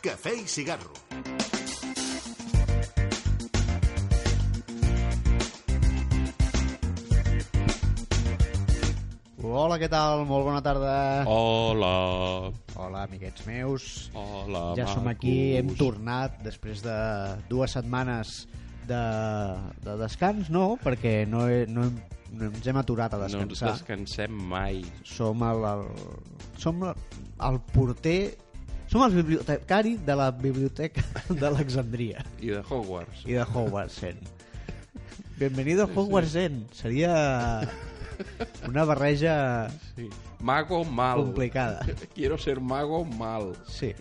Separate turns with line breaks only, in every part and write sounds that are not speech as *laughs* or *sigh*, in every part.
Cafè i cigarro.
Hola, què tal? Molt bona tarda.
Hola,
Hola, amiguets meus.
hola,
ja som
macos.
aquí, hem tornat després de dues setmanes de, de descans, no, perquè no, he, no, hem, no ens hem aturat a
No ens
descansar.
descansem mai.
Som el, el, som el, el porter... Som el bibliotecari de la biblioteca *laughs* d'Alexandria
I de Hogwarts.
i de Hogwarts End. Bienvenido a Hogwarts End. Seria una barreja
Sí. Mago mal.
complicada.
Quiero ser mago mal.
Sí.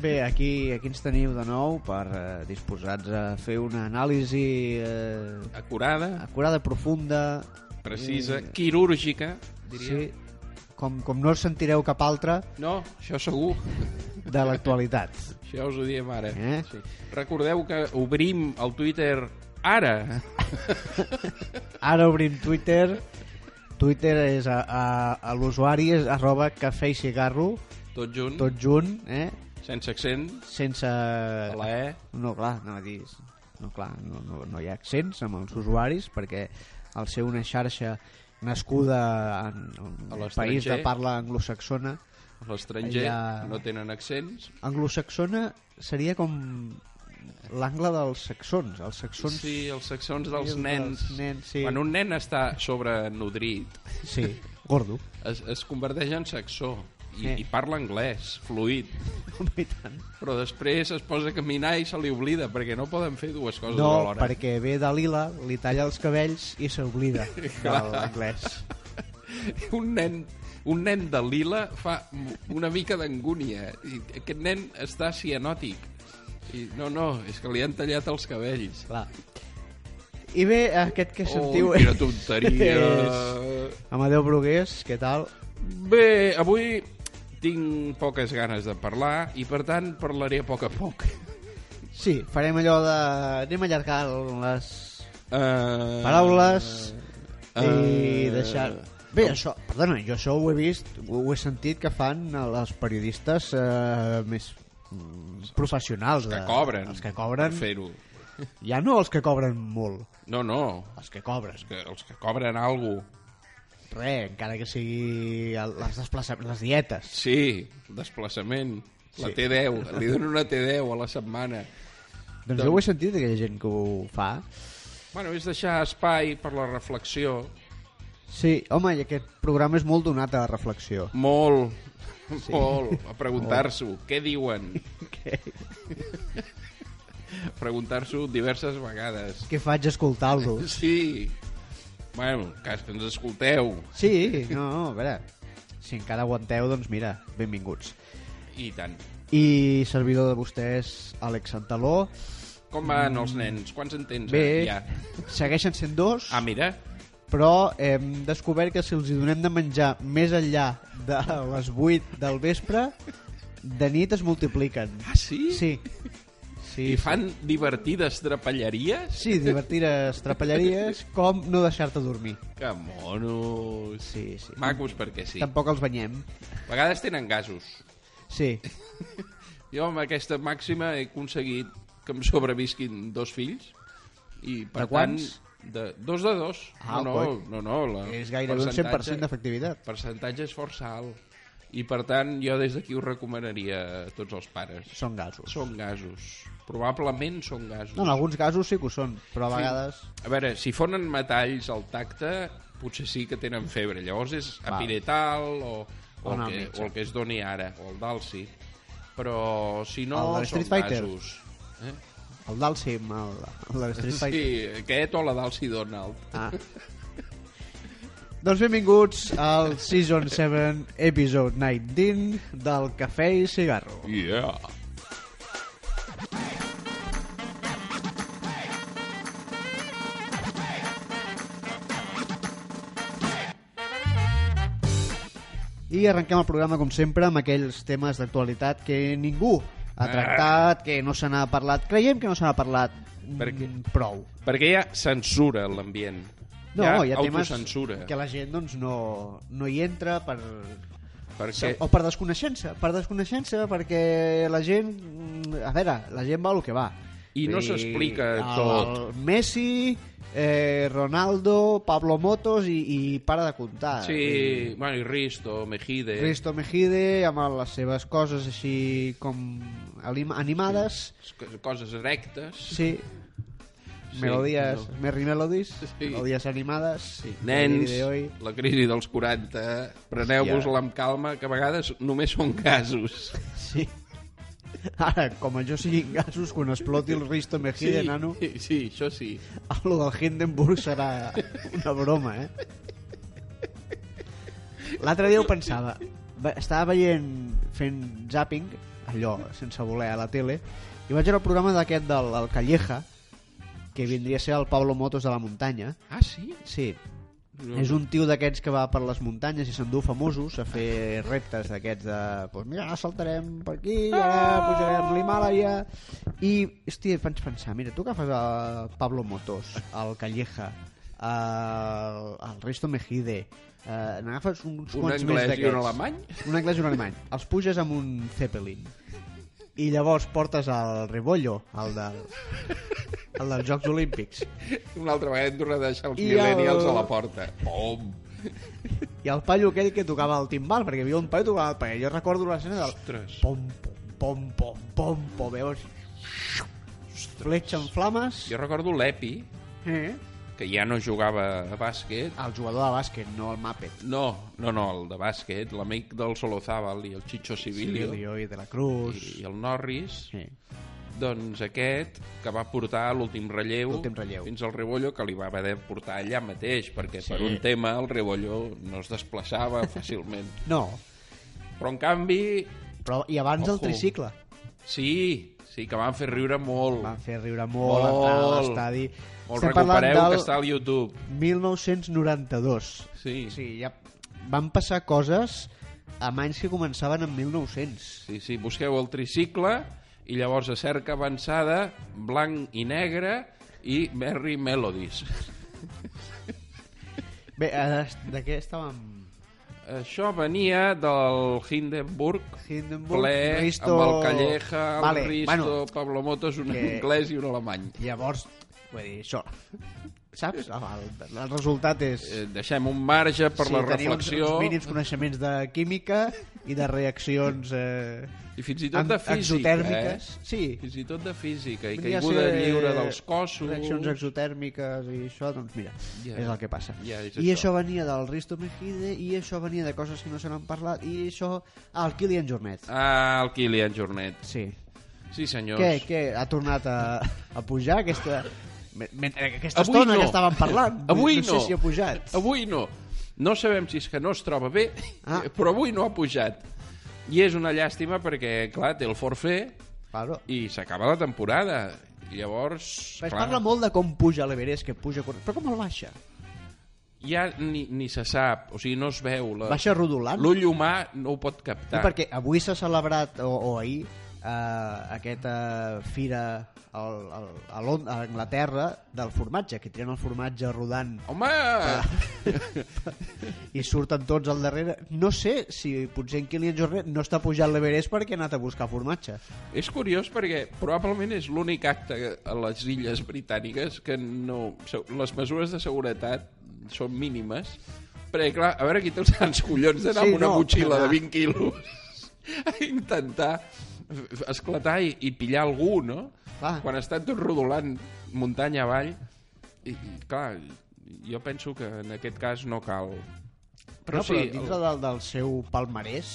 Bé, aquí, aquí ens teniu de nou per eh, disposats a fer una anàlisi eh,
Acurada,
acurada, profunda... eh,
precisa,
Mm.
quirúrgica, diria.
Sí, com, com no sentireu cap altra
No, això segur. *laughs*
de l'actualitat.
Això us ho diem ara.
Eh?
Sí. Recordeu que obrim el Twitter ara.
Ara obrim Twitter. Twitter és a, a, a l'usuari és arroba cafè i cigarro,
Tot junt,
tot junt, eh?
sense accent,
sense...
Mm. a la E.
No, clar, no a dir... No, clar, no, no, no hi ha accents amb els usuaris perquè al ser una xarxa nascuda en
A
un
l'estranger.
país de parla anglosaxona
A L'estranger
Ja.
no tenen accents.
anglosaxona seria com l'angle dels saxons els saxons
Sí, els saxons dels
dels
nens.
nens, sí.
Quan un nen està sobrenodrit,
sí gordo
es, es converteix en saxó i,
Sí.
i parla anglès, fluid
Home, i tant.
però després es posa a caminar i se li oblida perquè no poden fer dues coses
no,
alhora
perquè ve de lila li talla els cabells i
*laughs*
s'oblida de l'anglès
un nen un nen de lila fa una mica d'angúnia I aquest nen està cianòtic I, no, no, és que li han tallat els cabells
clar i bé, aquest que sentiu
oh, quina tonteria
*laughs* és Amadeu Brugués, què tal?
bé, avui tinc poques ganes de parlar i per tant parlaré a poc a poc
Sí, farem allò de... Anem a allargar les
uh,
paraules i
eh,
deixar... Bé, això, perdona, jo això ho he vist, ho, ho he sentit que fan els periodistes eh, més mm, professionals.
que
de-
cobren
Els que cobren,
per fer-ho
ja no els que cobren molt,
no, no,
els que cobren.
que els que cobren alguna
Res, encara que sigui el- les desplaçaments, les dietes.
Sí, desplaçament. La
Sí.
T10, li dono una T10 a la setmana.
Doncs jo ho he sentit, aquella gent que ho fa.
Bueno, és deixar espai per la reflexió.
Sí, home, i aquest programa és molt donat a la reflexió.
Molt, sí. molt. A preguntar-s'ho. Què diuen?
Què,
A Preguntar-s'ho diverses vegades.
què faig escoltant-los?
Sí. Bueno, cas que ens escolteu.
Sí, no, no, a veure, si encara aguanteu, doncs mira, benvinguts.
I tant.
I servidor de vostès, Àlex Santaló.
Com van els nens? Quants en tens eh,
Bé,
ja?
segueixen sent dos,
Ah, mira.
però hem descobert que si els hi donem de menjar més enllà de les 8 del vespre, de nit es multipliquen.
Ah, sí?
Sí. sí
I fan divertides trapelleries?
Sí, divertir estrapalleries com no deixar-te dormir.
*laughs* Que monos.
Sí, sí.
Macos perquè sí.
Tampoc els banyem.
A vegades tenen gasos.
Sí,
Jo amb aquesta màxima he aconseguit que em sobrevisquin dos fills i
De
per
quants?
tant de dos de dos.
Ah,
no,
coi.
no, no, no, la,
és gairebé un 100% d'efectivitat.
percentatge és força alt. I per tant jo des d'aquí ho recomanaria a tots els pares.
Són gasos.
Són gasos. Probablement són gasos.
No, en alguns casos sí que ho són, però a vegades...
A veure, si fonen metalls al tacte, potser sí que tenen febre. Llavors és
Val.
apiretal o, o,
Anar al
el que,
metge.
o el que es doni ara, o el d'alci. Però si no,
El de
són
Street Fighter.
gasos. Eh?
El d'Alcim, el, el de l'Street
Sí,
Fighter.
aquest o la d'Alci Donald.
Ah. doncs benvinguts al Season 7, Episode 19 del Cafè i Cigarro.
Yeah.
I arrenquem el programa, com sempre, amb aquells temes d'actualitat que ningú
Eh.
ha tractat, que no se n'ha parlat. Creiem que no se n'ha parlat
Per
mm,
què?
prou.
Perquè hi ha censura en l'ambient.
No, hi ha temes
autocensura.
que la gent doncs, no, no hi entra per,
Perquè...
O per desconeixença, per desconeixença, perquè la gent... mm, A veure, la gent va el que va.
I no
Vull dir,
s'explica
el-
tot.
el Messi, eh, Ronaldo, Pablo Motos i, i para de comptar.
Sí, bueno, i Risto, Mejide...
Risto Mejide, amb les seves coses així com alim- animades,
c- coses rectes.
sí,
Sí,
melodies,
no.
Merry Melodies,
Sí.
melodies animades,
Sí.
el
Nens,
dia de hoy.
la crisi dels 40, preneu-vos-la amb calma, que a vegades només són casos.
Sí. Ara, com jo siguin gasos, quan exploti el Risto Mejide, sí. nano,
sí, sí, això sí.
lo del Hindenburg serà una broma, eh? L'altre dia ho pensava. Ve- Estava veient, fent zapping, allò, sense voler, a la tele, i vaig veure el programa d'aquest del el Calleja, que vindria a ser el Pablo Motos de la muntanya.
Ah, sí?
Sí,
No.
és un tio d'aquests que va per les muntanyes i s'endú famosos a fer reptes d'aquests de... Pues mira, ara saltarem per aquí, ara
Ah!
pujarem l'Himàlaia... I, hòstia, vaig pensar, mira, tu agafes el Pablo Motos, el Calleja, el, el Risto Mejide, eh, n'agafes uns
Un
quants més
anglès
d'aquests.
i un alemany?
Un anglès i un alemany. Els puges amb un Zeppelin. I llavors portes el Rebollo, el, del, el dels Jocs Olímpics.
Una altra vegada hem tornat a deixar els
I el-
millennials a la porta. Pom!
I el paio aquell que tocava el timbal, perquè hi havia un paio que tocava el paio. Jo recordo l'escena del
Ostres.
pom, pom, pom, pom, pom, veus? Fletxa en flames.
Jo recordo l'Epi,
Eh?
que ja no jugava a bàsquet,
El jugador de bàsquet, no el Muppet.
No, no, no, el de bàsquet, l'amic del Solozábal i el Chicho Sibilio i,
Emilio i de la Cruz.
i el Norris,
Sí.
doncs aquest que va portar l'últim relleu,
L'últim relleu.
fins al Rebollo que li va haver de portar allà mateix perquè per un tema el Rebollo no
*laughs*
es desplaçava fàcilment.
No,
Però en canvi,
però i abans el
Ojo.
tricicle.
sí, sí que van fer riure molt.
Van fer riure molt,
Molt.
entrar a l'estadi.
Molt
Estem parlant
recupereu
del
que està al YouTube.
1992.
Sí, sí,
Sí, ja van passar coses amb anys que començaven en 1900.
sí, sí. busqueu el tricicle i llavors a cerca avançada, blanc i negre i Merry Melodies.
Bé, ara, de què estàvem?
Això venia del Hindenburg,
Hindenburg,
ple
Risto-
amb el Calleja, el
Vale,
Risto,
bueno,
Pablo Motos, un
que-
anglès i un alemany.
Llavors, vull dir, això... *laughs* Saps? El, el resultat és...
Eh, Deixem un marge per
sí,
la
tenir
reflexió
Uns, uns mínims coneixements de química i de reaccions... Eh,
i fins i tot de
an-
física. Eh?
exotèrmiques. Sí.
Fins i tot de física i
Vindria a
caiguda
ser
lliure dels cossos.
Reaccions exotèrmiques i això, doncs mira,
Ja.
és el que passa.
Ja, és
I
això.
això venia del Risto Mejide, i això venia de coses que no se n'han parlat, i això... Ah, el Kilian Jornet.
Ah, el Kilian Jornet.
Sí.
Sí, senyors.
Què, què? Ha tornat a, a pujar aquesta... me- Mentre que aquesta
Avui
estona
no.
que estàvem parlant. no,
Avui no.
sé si ha pujat.
Avui no. No sabem si és que no es troba bé,
Ah.
ah. *laughs* però avui no ha pujat. I és una llàstima perquè, clar, té el forfait
Claro.
i s'acaba la temporada. I llavors,
Es
clar,
parla molt de com puja l'Everest, que puja... corrent, Però com el baixa?
ja ni, ni se sap, o sigui, no es veu. La...
Baixa rodolant?
L'ull humà no ho pot
No,
captar.
perquè avui s'ha celebrat, o, o ahir, eh, aquesta eh, fira al, al, a, Lond a Anglaterra del formatge, que tiren el formatge rodant
Home!
Ah. i surten tots al darrere. No sé si potser en Kilian Jornet no està pujant l'Everest perquè ha anat a buscar formatge.
és curiós perquè probablement és l'únic acte a les illes britàniques que no... Les mesures de seguretat són mínimes, perquè, clar, a veure qui té els grans collons d'anar
Sí,
amb una
no,
motxilla
clar.
de 20 quilos a intentar esclatar i, i pillar algú, no?
Clar.
Quan estan tots rodolant muntanya avall, i, i clar, jo penso que en aquest cas no cal.
Però, no, però
sí,
dintre del, del seu palmarès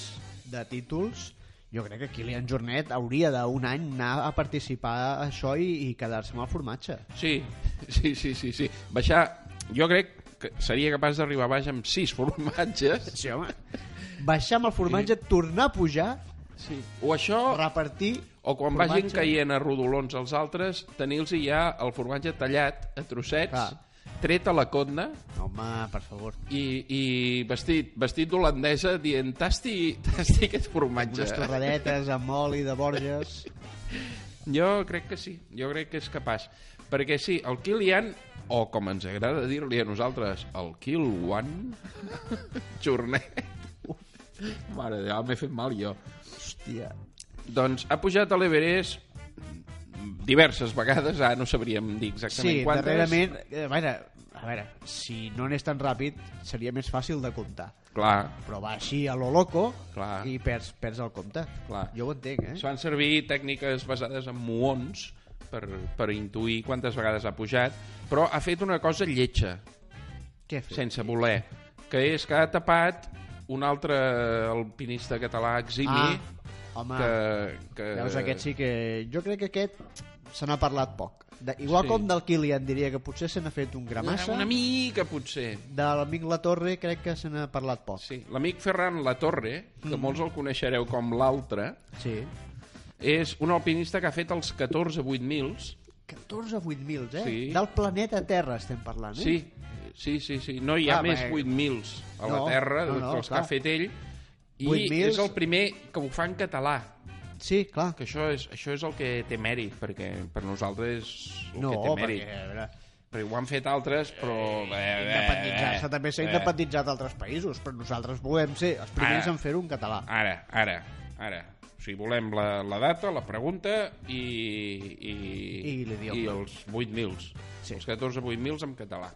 de títols, jo crec que Kilian Jornet hauria d'un any anar a participar a això i, i quedar-se amb el formatge.
Sí, *laughs* sí, sí, sí, sí. Baixar, jo crec que seria capaç d'arribar baix amb sis *laughs* formatges.
Sí, home. Baixar amb el formatge, tornar a pujar,
Sí. O això,
repartir...
o quan
formatge.
vagin caient a rodolons els altres, tenir-los ja el formatge tallat a trossets,
Clar.
tret a la cotna
Home, per favor.
i, i vestit, vestit d'holandesa dient tasti, tasti aquest formatge.
Unes torradetes amb oli de Borges...
Jo crec que sí, jo crec que és capaç. Perquè sí, el Kilian, o com ens *laughs* agrada dir-li a nosaltres, el Kil One, Jornet, Mare de Déu, m'he fet mal jo.
Hòstia.
Doncs ha pujat a l'Everest diverses vegades, ara no sabríem dir exactament
Sí,
quantes.
darrerament... eh, A veure, a veure, si no anés tan ràpid, seria més fàcil de comptar.
Clar,
Però va així a lo loco
Clar.
i perds, perds el compte.
Clar.
Jo ho entenc, eh?
es van servir tècniques basades en muons per, per intuir quantes vegades ha pujat, però ha fet una cosa lletja,
Què ha fet?
sense voler, que és que ha tapat un altre alpinista català, Eximi,
Ah, home,
que, que...
veus, aquest sí que... Jo crec que aquest se n'ha parlat poc. De, igual
Sí.
sí. com del Kilian diria que potser se n'ha fet un gramassa,
Una mica, potser.
de l'amic La Torre crec que se n'ha parlat poc.
Sí, l'amic Ferran Latorre,
Mm.
que molts el coneixereu com l'altre,
Sí.
és un alpinista que ha fet els 14 8000s.
14 8.000, eh?
Sí.
Del planeta Terra estem parlant, eh?
Sí, sí, sí, sí. No hi ha
Ah,
més
bé.
8000s a la
No,
Terra
no,
no,
no,
dels que
clar.
ha fet ell. I
8.000s.
és el primer que ho fa en català.
Sí, clar.
Que això és, això és el que té mèrit, perquè per nosaltres és el
No,
que té
perquè,
mèrit.
a veure,
Perquè ho han fet altres, però...
independitzar-se també s'ha
eh. Ah.
independitzat d'altres països, però nosaltres volem ser els primers
Ara.
en fer-ho en català.
Ara, ara, ara. O sigui, volem la, la data, la pregunta i... I,
I l'idioma.
I els 8.000.
Sí.
Sí. Els 14 8.000 en català.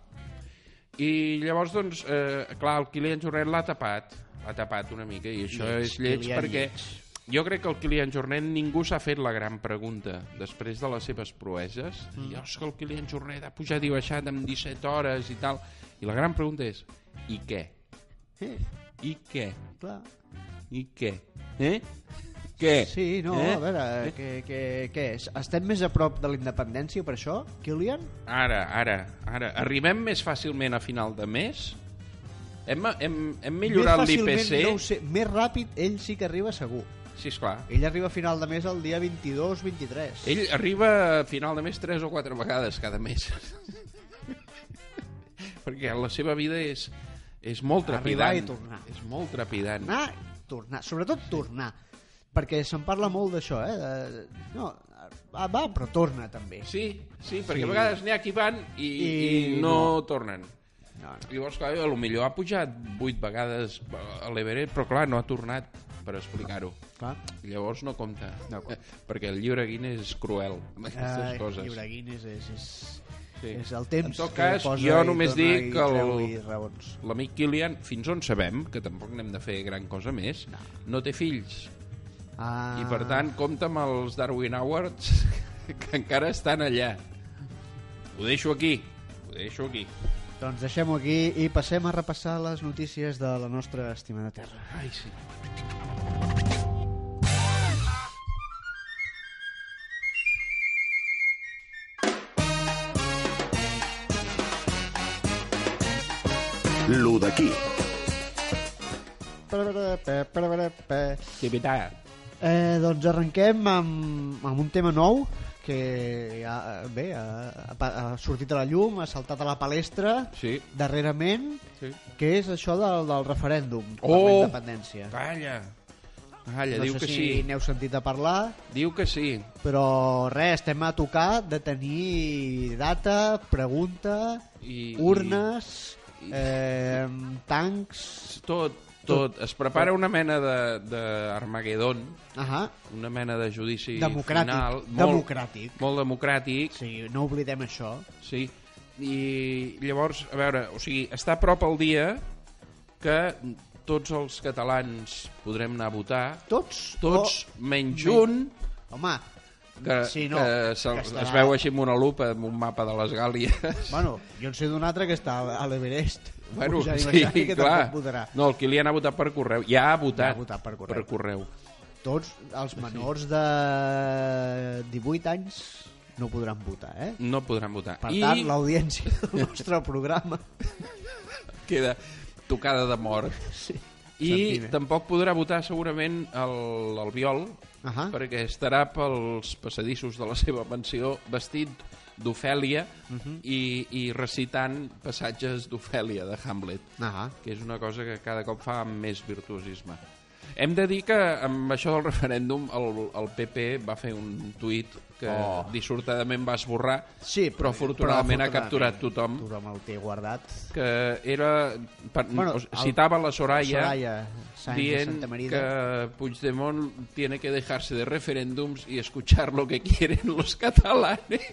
I llavors, doncs, eh, clar, el Kilian Jornet l'ha tapat. L'ha tapat una mica i això
Lleig,
és lleig
Kilian
perquè...
lleig.
Jo crec que el Kilian Jornet ningú s'ha fet la gran pregunta després de les seves proeses. Mm. I, és que el Kilian Jornet ha pujat i baixat amb 17 hores i tal. I la gran pregunta és, i què?
Eh,
I què?
clar.
I què? Eh? Què?
Sí, no,
eh?
a veure, que, que, què és? Estem més a prop de la independència per això, Kilian?
Ara, ara, ara. Arribem més fàcilment a final de mes? Hem, hem, hem millorat
Més
l'IPC?
fàcilment, No ho sé, més ràpid ell sí que arriba segur.
Sí, esclar.
Ell arriba a final de mes el dia 22-23.
Ell arriba a final de mes tres o quatre vegades cada mes. *laughs* Perquè la seva vida és, és molt
Arribar
trepidant.
i tornar. Ah.
És molt trepidant.
Tornar, tornar, sobretot tornar. Perquè se'n parla molt d'això, eh? De... No, va, va, però torna també.
Sí, sí,
Sí.
perquè a vegades n'hi ha qui van i, I...
I
i no, tornen.
No, no.
Llavors, clar, a lo millor ha pujat vuit vegades a l'Everest, però clar, no ha tornat per explicar-ho.
Clar.
Llavors no compta,
No compta.
*laughs* perquè el llibre Guinness és cruel amb aquestes
Ai,
coses.
Lliure Guinness és, és,
Sí.
sí. és el temps
En tot
que
cas,
posa
jo
i
només
torna
dic
i
que el-
treu i raons.
L'amic Kilian, fins on sabem, que tampoc n'hem de fer gran cosa més, no, no té fills.
Ah,
I per tant, compta amb els Darwin Awards *laughs* que encara estan allà. Ho deixo aquí, ho deixo aquí.
Doncs deixem-ho aquí i passem a repassar les notícies de la nostra estimada terra.
Ai, sí.
Lo d'aquí.
Parabarapé, parabarapé.
Tipitat.
Eh, doncs arrenquem amb, amb un tema nou que ja, eh, bé, ha, ha, ha sortit a la llum, ha saltat a la palestra
Sí,
darrerament,
sí.
que és això del, del referèndum per la
Oh!
independència.
Calla. Calla,
no
diu
sé
que
si
sí.
n'heu sentit a parlar.
Diu que sí.
Però res, estem a tocar de tenir data, pregunta, I,
I-
urnes, eh, tancs...
Tot, tot. Es prepara una mena d'Armagedon,
Ahà,
una mena de judici
democràtic,
final.
democràtic.
Molt democràtic,
O sigui, no oblidem això.
sí. I llavors, a veure, o sigui, està a prop el dia que tots els catalans podrem anar a votar,
Tots?
tots
O,
menys un,
home,
que,
Oh, Sí, no,
que, se,
que estarà-
es veu així amb una lupa, amb un mapa de les *laughs* Gàlies.
bueno, jo en sé d'un altre que està a l'Everest.
Bueno,
Ja
sí,
imagina que
clar.
tampoc votarà.
No, el Kilian ha votat per correu. Ja ha votat,
votat per correu.
Per correu.
Tots els menors de 18 anys no podran votar, eh?
No podran votar.
Per
I
tant, l'audiència del nostre programa...
queda tocada de mort.
Sí.
I
Sentint, eh?
tampoc podrà votar segurament el, el Biol,
Ahà.
perquè estarà pels passadissos de la seva mansió vestit d'Ofèlia i, i recitant passatges d'Ofèlia, de Hamlet,
Ahà.
que és una cosa que cada cop fa amb més virtuosisme. Hem de dir que amb això del referèndum el, el PP va fer un tuit que oh.
Oh.
dissortadament va esborrar,
Sí,
però afortunadament ha capturat tothom,
Tothom el té guardat.
que era... Per,
Bueno,
bueno, o, sigui,
el-
citava la Soraya,
Soraya Sáenz de
dient
Santa Marina.
que Puigdemont tiene que dejarse de referéndums y escuchar lo que quieren los catalanes.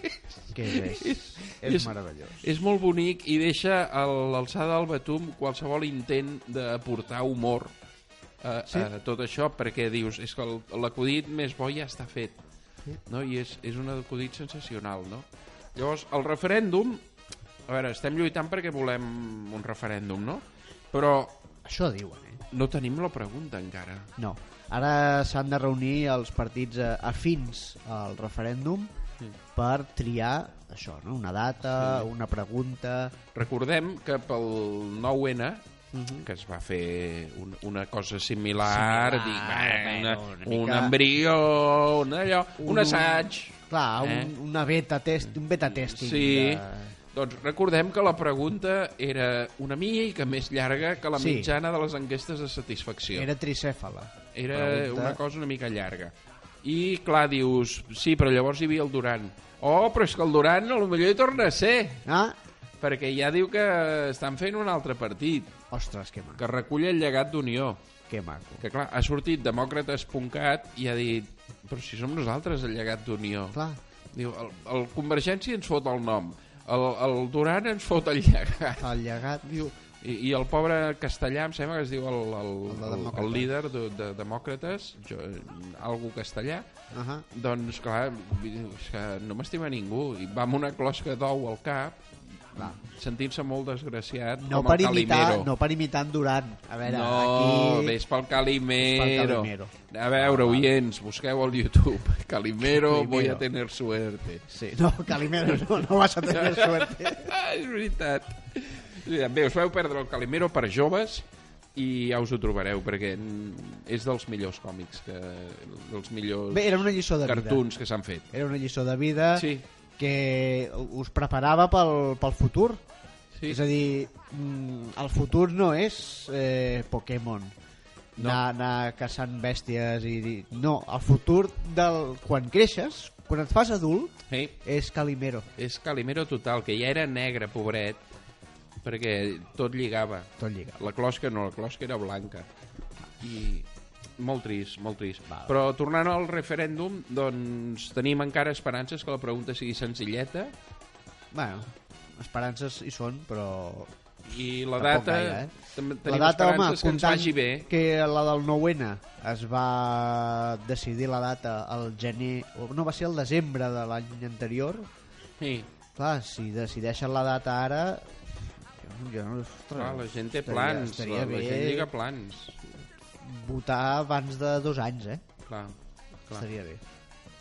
Que
*laughs*
és, és,
I
és meravellós.
És molt bonic i deixa a l'alçada del batum qualsevol intent d'aportar humor a, sí? a tot això, perquè dius, és que el- l'acudit més bo ja està fet, no? i és, és un acudit sensacional. No? Llavors, el referèndum, a veure, estem lluitant perquè volem un referèndum, no? però
Això diuen, eh?
no tenim la pregunta encara.
No. Ara s'han de reunir els partits eh, afins al referèndum per triar això, no? Una data, una pregunta...
Recordem que pel 9-N
Mhm.
que es va fer un, una cosa similar,
Similar,
dic, bé, una,
bueno, una
una un
mica-
embrió, un, allò, un,
Un-
un assaig.
Clar,
Eh?
un, una beta test, un beta testing.
Sí.
De...
Doncs recordem que la pregunta era una mica més llarga que la
Sí.
mitjana de les enquestes de satisfacció.
Era tricèfala.
Era
Pregunta-
una cosa una mica llarga. I, clar, dius, sí, però llavors hi havia el Duran. Oh, però és que el Duran a lo millor hi torna a ser,
Ah,
perquè ja diu que estan fent un altre partit.
ostres, que maco.
que recull el llegat d'Unió.
Que maco.
Que, clar, ha sortit demòcrates.cat i ha dit però si som nosaltres el llegat d'Unió.
Clar.
Diu, el, el Convergència ens fot el nom, el, el Duran ens fot el llegat.
El llegat... Diu...
I, I el pobre castellà, em sembla que es diu el,
El
el,
de
el, el,
Demòcrates.
líder de, de demòcrates, jo, algú castellà,
Uh -huh.
doncs, clar, vull dir, és que no m'estima ningú. I va amb una closca d'ou al cap,
Clar.
sentint-se molt desgraciat,
No
com
per,
el Calimero.
imitar, no per imitar en Durant. A veure,
No,
aquí...
ves pel Calimero.
Pel Calimero.
A veure, oients, busqueu al YouTube. *laughs* Calimero,
Calimero.
voy a tener suerte. *laughs*
Sí, no, Calimero, no, no vas a tenir suerte.
Ah, és veritat. És veritat. Bé, us vau perdre el Calimero per joves i ja us ho trobareu, perquè mm, és dels millors còmics, que, dels millors
Bé, era una lliçó de vida. Ah,
cartoons que s'han fet.
Era una lliçó de vida
Sí.
que us preparava pel, pel futur.
Sí.
És a dir, mm, el futur no és eh, Pokémon. No. Anar, anar caçant bèsties i dir... No, el futur del... quan creixes, quan et fas adult,
Sí.
és Calimero.
És Calimero total, que ja era negre, pobret, perquè tot lligava.
Tot lliga.
La closca no, la closca era blanca. I molt trist, molt trist. Però tornant al referèndum, doncs tenim encara esperances que la pregunta sigui senzilleta
Bueno, esperances hi són, però...
i la
Tampoc
data...
gaire, eh?
Tenim
La data, home,
esperances que ens
comptant
vagi bé.
que la del 9-N es va decidir la data al gener... o No, va ser el desembre de l'any anterior.
Sí.
Clar, si decideixen la data ara... Jo, jo no... Ostres,
Clar, Ah, la gent té
estaria-
plans,
Estaria
la, la
bé
gent lliga plans.
votar abans de dos anys, eh?
Clar,
Clar.
clar.
Estaria bé.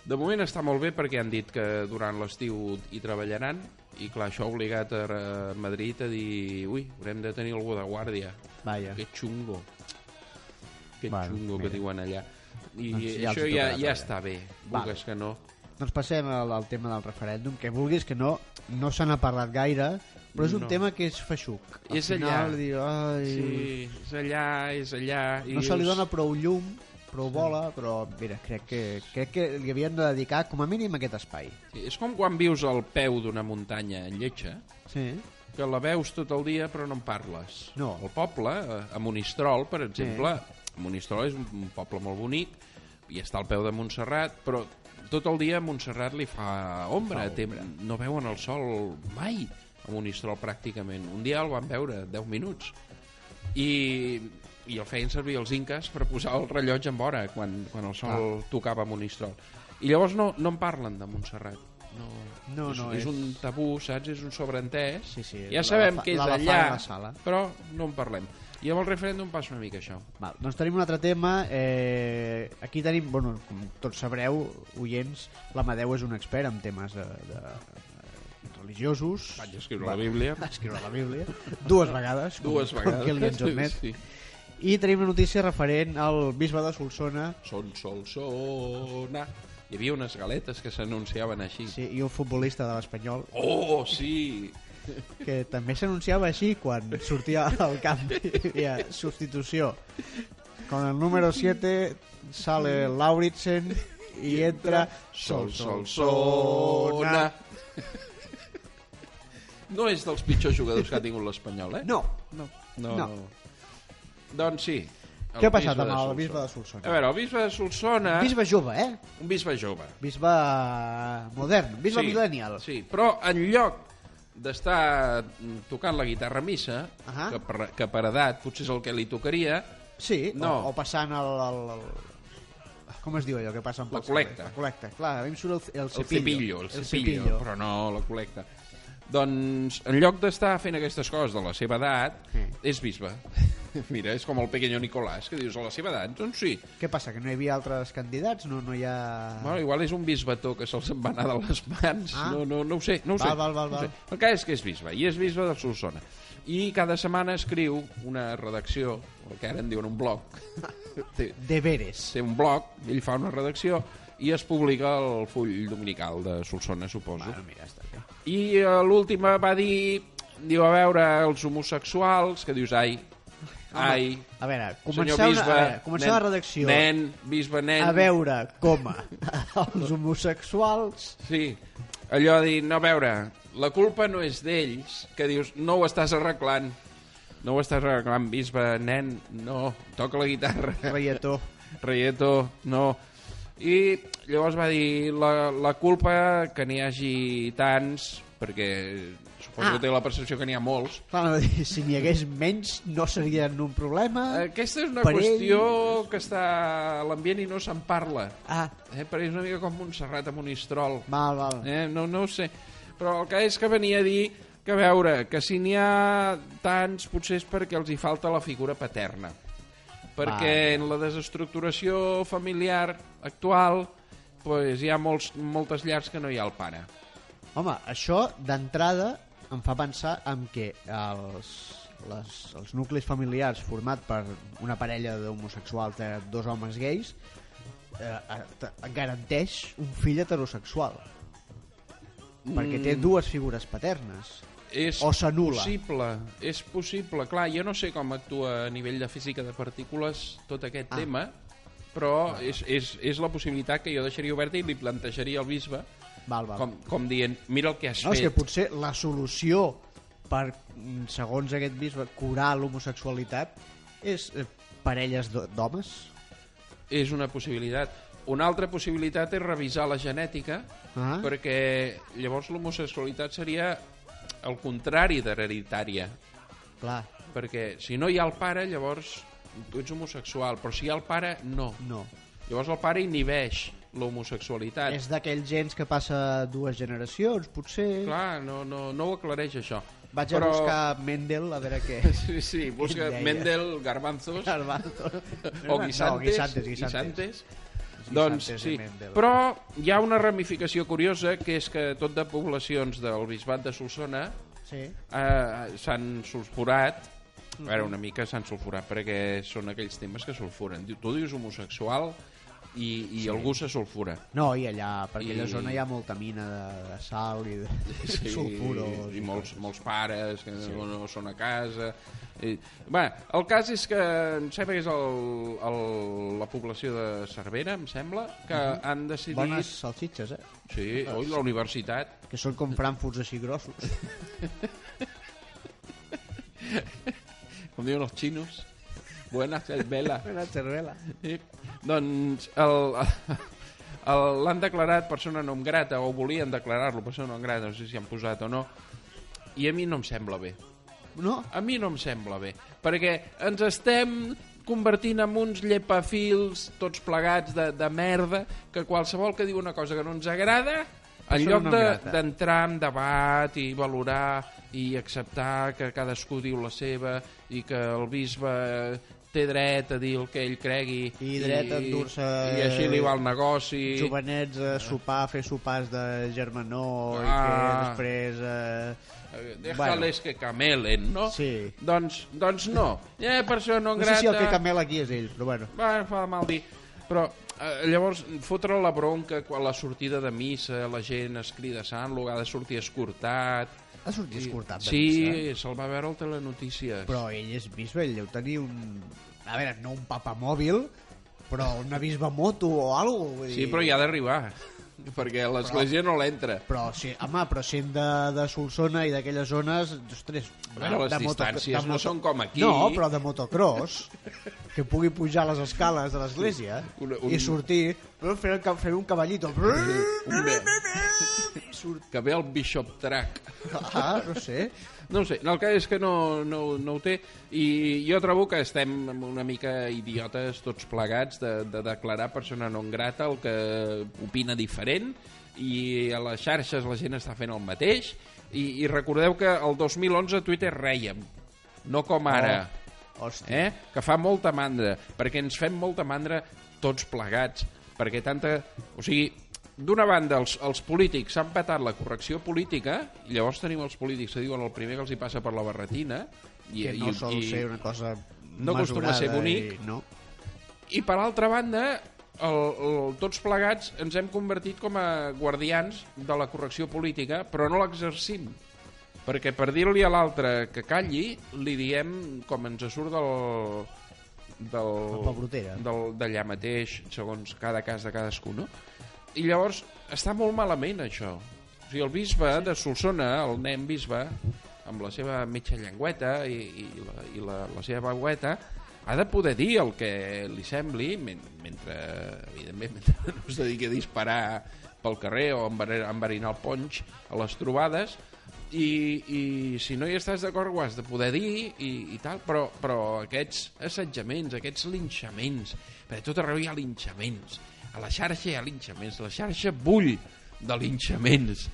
De moment està molt bé perquè han dit que durant l'estiu hi treballaran i clar, això ha obligat a a Madrid a dir ui, haurem de tenir algú de guàrdia
Vaja.
Que xungo. Que
Bueno,
bueno, xungo
mira.
que diuen allà. I
Doncs ja
ja
els
això
hi
ja,
tocarà
ja
treballar.
està bé,
Vale.
vulgues que no.
Doncs passem al, al tema del referèndum, que vulguis que no, no se n'ha parlat gaire, però és un
No.
tema que és feixuc. Al
És
final,
allà.
Dir, ai,
Sí, és allà, és allà. I
Eh. No se li
dius,
dona prou llum, prou bola, però mira, crec que, crec que li havien de dedicar com a mínim aquest espai.
Sí, és com quan vius al peu d'una muntanya lletja,
Sí.
que la veus tot el dia però no en parles.
No.
El poble, eh, a Monistrol, per exemple, Monistrol és un, un poble molt bonic i està al peu de Montserrat, però tot el dia a Montserrat li fa ombra, té, no veuen el sol mai a Monistrol pràcticament. Un dia el van veure, 10 minuts. I, i el feien servir els inques per posar el rellotge en vora quan, quan el sol tocava a Monistrol. I llavors no, no en parlen de Montserrat. No,
No,
és,
no,
és,
és-
un tabú, saps? És un sobreentès
Sí, sí,
ja
l'elefant-
sabem que és
l'elefant
allà,
a la sala.
però no en parlem. I amb el referèndum passa una mica això.
Val, doncs tenim un altre tema. Eh, aquí tenim, bueno, com tots sabreu, oients, l'Amadeu és un expert en temes de, de, de religiosos.
Vaig escriure la
*laughs*
Bíblia.
Va escriure la Bíblia. Dues vegades. com-
Dues
com
vegades.
que li ens ho admet.
Sí.
I tenim una notícia referent al bisbe de Solsona
Son, sol, sona. Hi havia unes galetes que s'anunciaven així.
sí, i un futbolista de l'Espanyol
Oh, sí! *laughs*
que també s'anunciava així quan sortia al camp. Hi havia substitució Con el número 7 sale Lauritsen y entra
Sol, sol, sona. No és dels pitjors jugadors que ha tingut l'Espanyol, eh?
No, no.
No.
No.
Doncs sí. el
Què ha passat
bisbe de
amb el
Solsona.
bisbe de Solsona?
A veure, el bisbe de Solsona...
Bisbe jove, eh?
Un bisbe jove.
Bisbe modern, bisbe millennial.
Sí, però en lloc d'estar mm, tocant la guitarra a missa,
Ahà.
que, per, que per edat potser és el que li tocaria,
Sí,
No.
o, o passant el, el, el... Com es diu allò que passa amb
La
el cervell?
col·lecta.
La col·lecta, clar, a mi em surt el, el
el
cepillo.
cepillo, el cepillo, però no la col·lecta. Doncs, en lloc d'estar fent aquestes coses de la seva edat,
Sí.
és bisbe. *laughs* Mira, és com el pequeño Nicolás, que dius, a la seva edat, doncs sí.
Què passa, que no hi havia altres candidats? No, no hi ha...
Ah. Bueno, igual és un bisbató que se'ls en va anar de les mans,
Ah.
no, no, no ho sé. No ho
Val,
sé.
val, val,
no ho
val.
sé. El cas és que és bisbe, i és bisbe de Solsona. I cada setmana escriu una redacció, el que ara en diuen un
*laughs*
blog. té,
Deberes.
té un blog, ell fa una redacció, i es publica el full dominical de Solsona, suposo.
Bueno, mira, està bé.
I eh, l'última va dir... Diu, a veure, els homosexuals, que dius, ai, ai...
A veure,
Senyor
començar,
bisbe,
una, a veure, començar
nen,
la redacció.
Nen, bisbe, nen...
A veure, coma, *laughs* els homosexuals...
Sí, allò de dir, no, a veure, la culpa no és d'ells, que dius, no ho estàs arreglant. No ho estàs arreglant, bisbe, nen, no, toca la guitarra. *laughs*
Reietó.
Reieto, no. I llavors va dir, la, la culpa que n'hi hagi tants, perquè suposo
Ah.
que té la percepció que n'hi ha molts,
Clar, no, si n'hi hagués menys no serien un problema.
Aquesta és una
Per ell-
qüestió que està a l'ambient i no se'n parla.
Ah,
Eh? Per ell és una mica com Montserrat a Monistrol.
val, val.
Eh? No, no ho sé. Però el que és que venia a dir que a veure, que si n'hi ha tants potser és perquè els hi falta la figura paterna. Perquè
Vaja.
en la desestructuració familiar actual pues, hi ha molts, moltes llars que no hi ha el pare.
Home, això d'entrada em fa pensar en que els, les, els nuclis familiars format per una parella d'homosexuals de dos homes gais eh, et- garanteix un fill heterosexual mm. perquè té dues figures paternes
És
O s'anul·la.
possible, és possible. Clar, jo no sé com actua a nivell de física de partícules tot aquest ah. tema, però és, és, és la possibilitat que jo deixaria oberta i li plantejaria al bisbe,
val, val.
com, com dient, mira el que has
no, és que
fet.
potser la solució per, mm, segons aquest bisbe, curar l'homosexualitat és eh, parelles d'ho- d'homes
És una possibilitat. Una altra possibilitat és revisar la genètica,
Ah.
perquè llavors l'homosexualitat seria el contrari d'hereditària.
clar,
Perquè si no hi ha el pare, llavors tu ets homosexual, però si hi ha el pare, no.
no
Llavors el pare inhibeix l'homosexualitat.
És d'aquells gens que passa dues generacions, potser.
Clar, no, no, no ho aclareix això.
Vaig a
Però...
buscar Mendel a veure què...
*laughs* Sí, sí, busca
Ell deia.
Mendel, Garbanzos
Garbanzo.
o guisantes.
No, guisantes, guisantes.
Doncs
Guisantes eh,
sí,
i Mendel.
però hi ha una ramificació curiosa que és que tot de poblacions del bisbat de Solsona
Sí.
eh, s'han sulfurat
Mhm.
a veure, una mica s'han sulfurat perquè són aquells temes que sulfuren. Diu, Tu dius homosexual i, i sí. algú se sulfura.
No, i allà, per aquella
I-
zona hi ha molta mina de, de sal i de
*laughs* sí,
*laughs* sulfuro.
i molts, molts pares que sí. no, no són a casa I, bé, el cas és que em sembla que és el, el, la població de Cervera, em sembla que han decidit
Bones salsitxes, eh?
sí, oi, la universitat
Que són com frankfurts així grossos.
*laughs* com diuen els xinos buenas vela
Una cervela.
Sí. Doncs el- el- l'han declarat persona non grata, o volien declarar-lo persona non grata, no sé si han posat o no, i a mi no em sembla bé.
No?
A mi no em sembla bé, perquè ens estem convertint en uns llepafils tots plegats de, de merda que qualsevol que diu una cosa que no ens agrada en
Persona
lloc
non
de-
grata.
d'entrar de, en debat i valorar i acceptar que cadascú diu la seva i que el bisbe té dret a dir el que ell cregui
I dret a endur-se-
i així li va el negoci
Jovenets a sopar, a fer sopars de germanor i que
Ah.
després... Eh...
Eh, Déjales que camelen, no?
Sí.
Doncs, doncs no. Eh, persona no
No sé
grata...
si el que camela aquí és ell, però bueno.
va, fa mal dir però eh, llavors fotre la bronca quan la sortida de missa la gent es crida sant, l'ho ha de sortir escortat
Ha sortit escortat de
sí,
missa.
se'l va veure al Telenotícies
Però ell és bisbe, ell deu tenir un... a veure, no un papamòbil, però una bisba moto o alguna cosa.
Sí, però hi ha d'arribar, *laughs* perquè a l'església no l'entra.
Però sí, home, però sent de, de Solsona i d'aquelles zones, ostres...
A veure, les distàncies no són com aquí.
No, però de motocross, que pugui pujar les escales de l'església
Un-
un,
un-
i sortir, però fer, el ca- fer un cavallito,
Un bé.
surt...
Que ve el Bishop Track.
*laughs* Ah, no sé.
No ho sé, el que és que no, no, no ho té i jo trobo que estem una mica idiotes tots plegats de, de declarar persona non grata el que opina diferent i a les xarxes la gent està fent el mateix i, i recordeu que el 2011 a Twitter rèiem, no com ara.
Hòstia.
Eh? Que fa molta mandra, perquè ens fem molta mandra tots plegats, perquè tanta... O sigui, d'una banda, els, els polítics s'han patat la correcció política, i llavors tenim els polítics que diuen el primer que els hi passa per la barretina, i,
que no
i,
sol
i,
ser una cosa
no acostuma a ser
mesurada
bonic.
I, no.
i per altra banda, el, el, tots plegats ens hem convertit com a guardians de la correcció política, però no l'exercim. Perquè per dir-li a l'altre que calli, li diem com ens surt del... del
La pebrotera.
del, d'allà mateix, segons cada cas de cadascú, no? I llavors, està molt malament, això. O sigui, el bisbe de Solsona, el nen bisbe, amb la seva mitja llengüeta i, i, la, i la, la seva veueta, ha de poder dir el que li sembli, men mentre, evidentment, mentre *laughs* no es dediqui a disparar pel carrer o a envere- a enverinar el ponx a les trobades, i, i si no hi estàs d'acord ho has de poder dir i, i tal, però, però aquests assetjaments, aquests linxaments perquè a tot arreu hi ha linxaments a la xarxa hi ha linxaments la xarxa bull de linxaments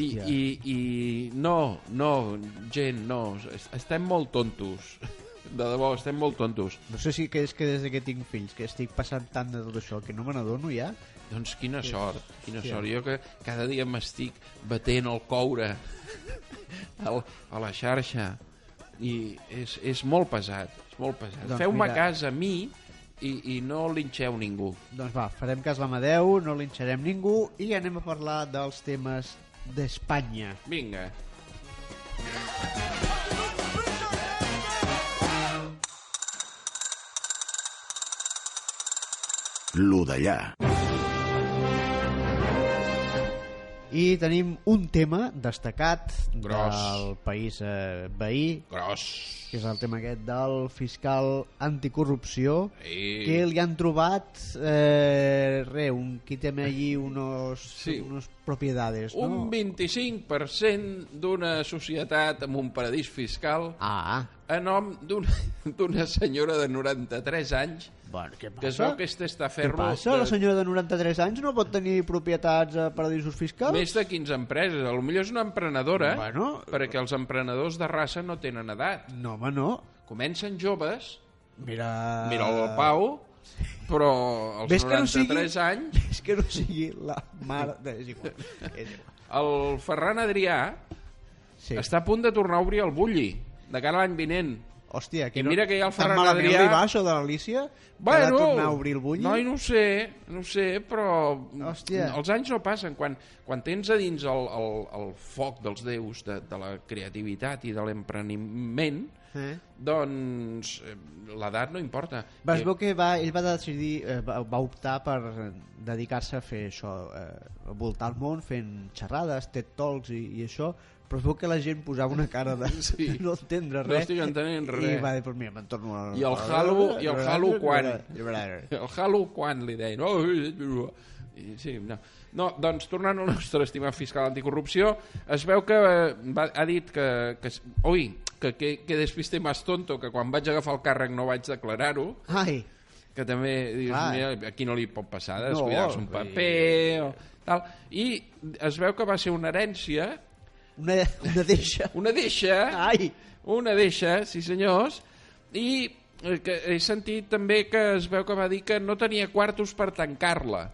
i,
Hòstia.
i, i no, no, gent no, es- estem molt tontos de debò, estem molt tontos
no sé si que és que des de que tinc fills, que estic passant tant de tot això, que no me n'adono ja.
doncs quina sort, quina
Hòstia.
sort jo que cada dia m'estic batent el coure *laughs* al, a la xarxa i és, és molt pesat, és molt pesat.
Doncs
Feu-me
mira.
cas a mi i, i no linxeu ningú.
Doncs va, farem cas l'Amadeu, no linxarem ningú i anem a parlar dels temes d'Espanya.
Vinga.
Lo d'allà.
I tenim un tema destacat
Gros.
del país eh, veí,
Gros.
que és el tema aquest del fiscal anticorrupció,
Sí.
que li han trobat, eh, re, un quíteme allí unos,
Sí.
unos propiedades, no?
Un 25% d'una societat amb un paradís fiscal
Ah,
a nom d'una *laughs* d'una senyora de 93 anys
bueno, què passa?
que es veu que és
Què
testaferro
passa? La senyora de 93 anys no pot tenir propietats a paradisos fiscals?
més de 15 empreses. A lo millor és una emprenedora,
Bueno.
perquè els emprenedors de raça no tenen edat.
No, home, no.
Comencen joves,
Mira...
mira el Pau, però als
Ah. Ves que no
93
sigui-
anys
*laughs* És que no sigui la mare... De... És igual. És igual.
el Ferran Adrià
Sí.
està a punt de tornar a obrir el bulli de cara a l'any vinent.
Hòstia, que
I
no...
mira que hi ha el Ferran
Tan malament
Adrià.
li va això de l'Alícia? que ha de tornar a obrir el bull?
Noi, no ho sé, no ho sé, però
Hòstia.
els anys no passen. Quan, quan tens a dins el, el, el foc dels déus de, de la creativitat i de l'empreniment,
Eh?
doncs eh, l'edat no importa.
Va, es
Eh,
veu que va, ell va decidir, eh, va, va optar per eh, dedicar-se a fer això, eh, voltar el món fent xerrades, TED Talks i, i això, però es veu que la gent posava una cara de
*laughs* Sí.
*laughs* no entendre
No
res.
estic entenent
I
res.
va dir, pues mira, me'n torno a...
I el Halo- i el Halo quan? *laughs* El Halo quan li deien... Oh, eh, eh, eh, sí, no. no, doncs tornant al nostre estimat fiscal anticorrupció, es veu que eh, va, ha dit que... que s- ui, que, que, que despiste más tonto, que quan vaig agafar el càrrec no vaig declarar-ho,
Ai,
que també dius,
Clar.
mira, aquí no li pot passar de
No,
descuidar-se un
vull
paper o tal. I es veu que va ser una herència,
una, una deixa.
una deixa,
Ai,
una deixa, sí senyors, i eh, que he sentit també que es veu que va dir que no tenia quartos per tancar-la.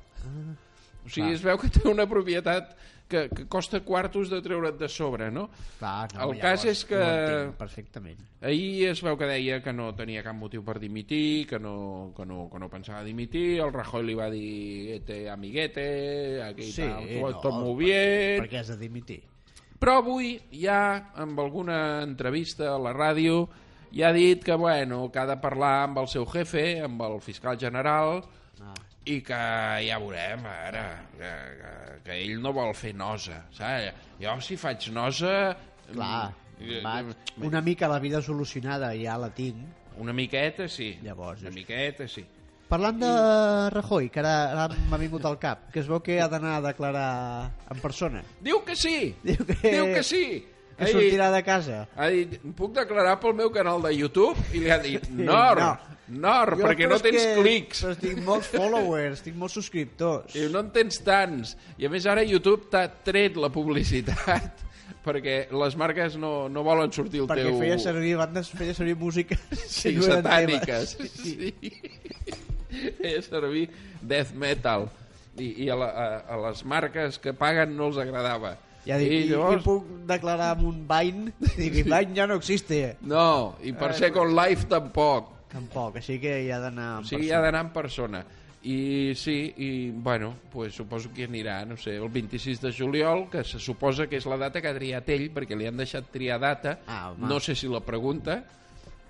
O sigui, es veu que té una propietat que, que costa quartos de treure't de sobre, no?
Clar, no,
El
llavors
cas és que-
Ho entenc perfectament.
Ahir es veu que deia que no tenia cap motiu per dimitir, que no, que no, que no pensava dimitir, el Rajoy li va dir este amiguete, aquí sí, tal, no, tot molt
Per,
bien...
per què has de dimitir?
Però avui ja, amb alguna entrevista a la ràdio, i ha dit que, bueno, que ha de parlar amb el seu jefe, amb el fiscal general,
Ah.
i que ja veurem, ara, que, que, que ell no vol fer nosa, saps? Jo, si faig nosa...
Clar,
eh,
vaig,
eh,
una mica la vida solucionada ja la tinc.
Una miqueta, sí.
Llavors,
Una
és-
miqueta, sí.
Parlant de Rajoy, que ara, ara m'ha vingut al cap, que es veu que ha d'anar a declarar en persona.
Diu que sí!
Diu que-
Diu que sí!
Que
Ha dit-
sortirà de casa.
Ha dit, puc declarar pel meu canal de YouTube? I li ha dit,
Sí,
Nor,
no.
Nor,
Jo,
perquè
però
no
és
tens
que-
clics.
Però tinc molts followers, tinc molts subscriptors.
Diu, no en tens tants. I a més ara YouTube t'ha tret la publicitat *laughs* perquè les marques no, no volen sortir el
Perquè
teu...
feia servir, bandes feia servir música
*laughs*
*laughs*
Sí,
que no eren
satàniques. *laughs*
teves.
Sí. Feia servir death metal. I, i a, la, a, a les marques que paguen no els agradava.
Ja dic, i,
I llavors...
i puc declarar amb un Vine? *laughs* Dic, sí. Vine ja no existe.
No, i
Eh,
per Second Life tampoc.
Tampoc, així que hi ha d'anar en
O sigui, hi ha d'anar en persona. I sí, i bueno, pues, suposo que hi anirà, no sé, el 26 de juliol, que se suposa que és la data que ha triat ell, perquè li han deixat triar data.
Ah, home.
no sé si la pregunta, *laughs*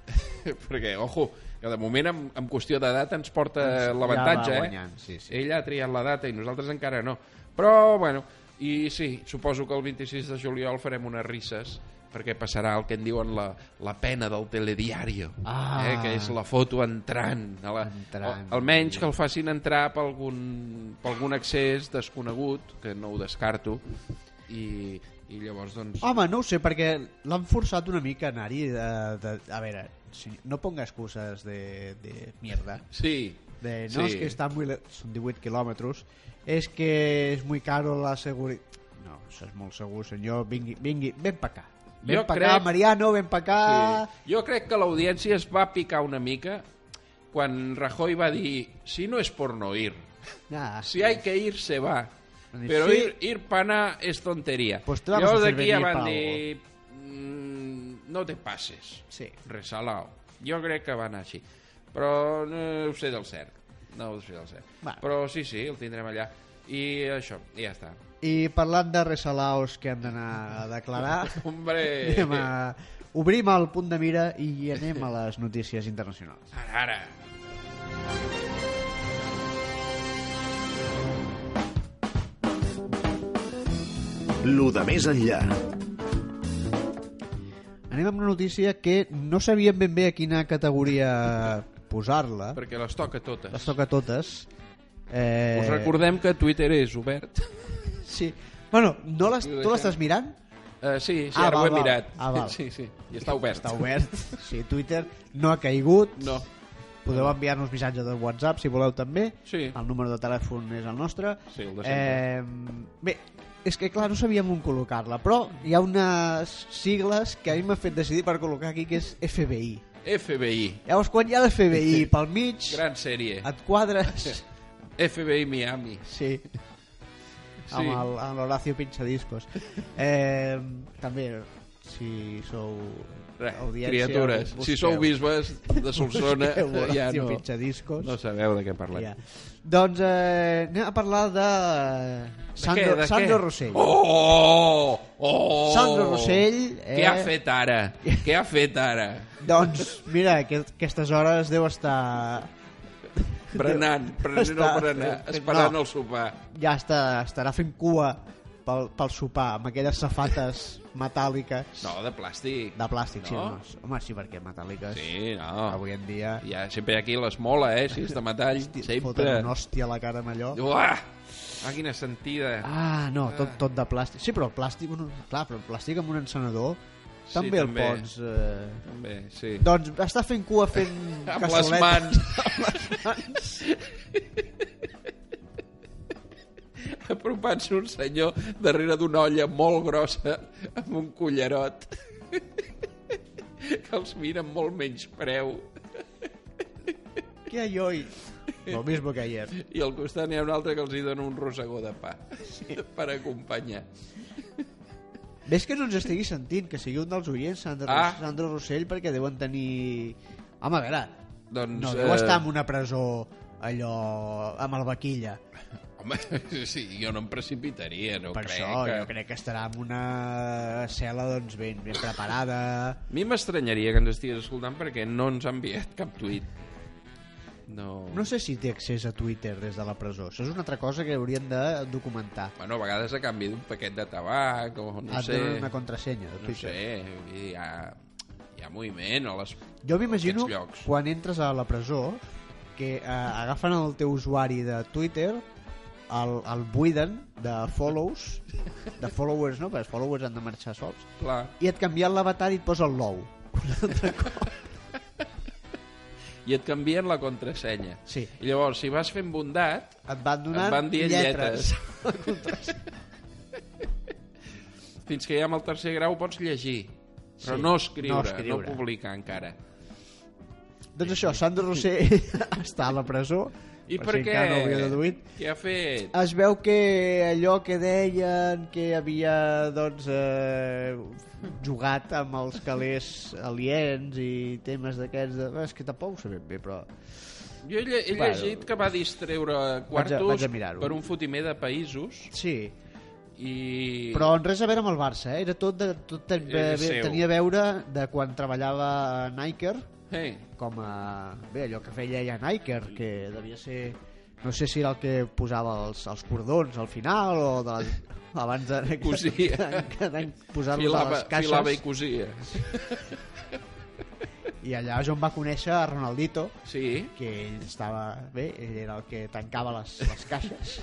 perquè, ojo, que de moment, en, en qüestió de data, ens porta
Ens- ja
l'avantatge,
va
eh?
guanyant, sí, sí.
Ell ha triat la data i nosaltres encara no. Però, bueno, i sí, suposo que el 26 de juliol farem unes risses, perquè passarà el que en diuen la, la pena del telediario,
Ah.
eh? que és la foto entrant. A la,
Entrant.
O, almenys que el facin entrar per algun, per algun accés desconegut, que no ho descarto, i, i llavors, doncs...
Home, no ho sé, perquè l'han forçat una mica a anar-hi. De, de, a veure, si, no ponga excuses de, de mierda.
Sí,
De, no,
sí.
és que està muy... le- Són 18 quilòmetres. És que és muy caro la seguretat. No, això és molt segur, senyor. Vingui, vingui, ven pa acá. Ven
Jo
pa acá,
crec-
Mariano, ven pa acá.
Sí. Jo crec que l'audiència es va picar una mica quan Rajoy va dir si no és por no ir,
Ah,
si hay que ir se va,
Sí.
però ir, ir pana és tonteria.
Pues te vamos a hacer
aquí ja
venir
van
pa
dir "Mm, no te passes,
Sí.
resalao. Jo crec que va anar així, però no ho sé del cert. No ho sé del cert.
Va.
Però sí, sí, el tindrem allà. I això, i ja
*laughs*
està.
I parlant de resalaos que han d'anar a
*laughs*
declarar,
Hombre,
anem a... obrim el punt de mira i anem a les notícies internacionals.
ara, ara.
Lo de més enllà.
Anem amb una notícia que no sabíem ben bé a quina categoria posar-la.
Perquè les toca totes.
Les toca totes. Eh...
Us recordem que Twitter és obert.
Sí. Bueno, no les...
Ho
tu
deixem.
l'estàs mirant?
Uh, sí, sí,
Ah, val,
ara ho he
val.
mirat.
Ah, val.
*laughs* Sí, sí, i està obert.
Està obert. Sí, Twitter no ha caigut.
No.
Podeu enviar-nos missatges de WhatsApp, si voleu, també.
Sí.
El número de telèfon és el nostre.
Sí, el de
eh, bé, és que, clar, no sabíem on col·locar-la, però hi ha unes sigles que a mi m'ha fet decidir per col·locar aquí, que és FBI.
FBI,
Llavors, quan hi ha l'FBI pel mig,
gran sèrie.
et quadres...
FBI Miami.
Sí.
Sí.
Amb el- amb l'Horacio Pinchadiscos. Eh, també, si sou
Res,
audiència...
criatures, si sou bisbes de Solsona,
*laughs*
eh,
busqueu
ja
Horacio
no,
Pinchadiscos.
no sabeu de què parlem.
Ja. Doncs eh, anem a parlar de... Sandro,
de què?
Sandro Rossell.
Oh! oh!
Sandro Rossell, eh?
Què ha fet ara? Què ha fet ara?
Doncs, mira, aquest, aquestes hores deu estar... *laughs*
Berenant, prenent el
Està-
berenar,
no.
esperant el sopar.
Ja està, estarà fent cua pel, pel sopar, amb aquelles safates metàl·liques
No, de plàstic.
de plàstic. Sí,
No?
home, home, sí, perquè metàl·liques...
Sí, no.
Avui en dia...
Ja, sempre aquí l'esmola, eh? Si és de metall, sempre.
Foten una hòstia a la cara amb allò.
Uah! Ah, quina sentida.
Ah, no, tot, tot de plàstic. Sí, però el plàstic, bueno, clar, però el plàstic amb un encenedor
Sí,
també el
també.
pots... Eh...
També, sí.
Doncs està fent cua fent
*laughs* Amb les
cassoleta. *laughs*
mans.
amb les mans.
*laughs* Apropant-se un senyor darrere d'una olla molt grossa amb un cullerot *laughs* que els mira amb molt menys preu.
Que aioi. Lo mismo que ayer.
I al costat n'hi ha un altre que els hi dona un rossegó de pa sí. *laughs* per acompanyar.
Ves que no ens estigui sentint, que sigui un dels oients, Sandro,
Ah.
ah. Sandro Rossell, perquè deuen tenir... Home, a veure,
Doncs,
no deu
eh,
estar en una presó allò amb el vaquilla.
eh, Home, *laughs* sí, jo no em precipitaria, no
Per
crec.
això
que...
jo crec que estarà amb una cel·la doncs, ben, ben preparada.
A mi m'estranyaria que ens estigués escoltant perquè no ens ha enviat cap tuit. No...
No sé si té accés a Twitter des de la presó. Això és una altra cosa que hauríem de documentar. Ah,
Bueno, a vegades a canvi d'un paquet de tabac o no
Et
sé...
donen una contrasenya de
No
Twitter.
sé, vull dir, hi ha, hi ha moviment a les...
Jo m'imagino
Aquests llocs.
quan entres a la presó que eh, agafen el teu usuari de Twitter el, el buiden de follows de followers no, perquè els followers han de marxar sols
Clar.
i et canvien l'avatar i et posa el nou
I et canvien la contrasenya.
Sí.
I llavors, si vas fent bondat,
et van donant
Et van dient
lletres,
fins que ja amb el tercer grau pots llegir. Però
Sí,
no escriure,
no
no,
escriure.
no publicar encara.
doncs això, Sandro
*laughs*
Rossé està a la presó
I
per
per,
si
què?
encara no ho havia deduït Ah.
Què ha fet?
es veu que allò que deien que havia doncs eh, jugat amb els calés aliens i temes d'aquests de... és que tampoc ho sé ben bé però
Jo he, lle- he
Bueno.
llegit que va distreure quartos
vaig a mirar-ho.
per un fotimer de països
sí
i...
però en res a veure amb el Barça eh? era tot, de, tot ten, ve-
Era seu.
tenia a veure de quan treballava a Niker
Hey,
com a... bé, allò que feia ja Niker que devia ser no sé si era el que posava els, els cordons al final o de les, abans de, *laughs*
Cosia.
posar-los a
filava,
les caixes
filava i cosia.
I allà és on va conèixer a Ronaldito,
Sí,
que ell estava bé, ell era el que tancava les, les caixes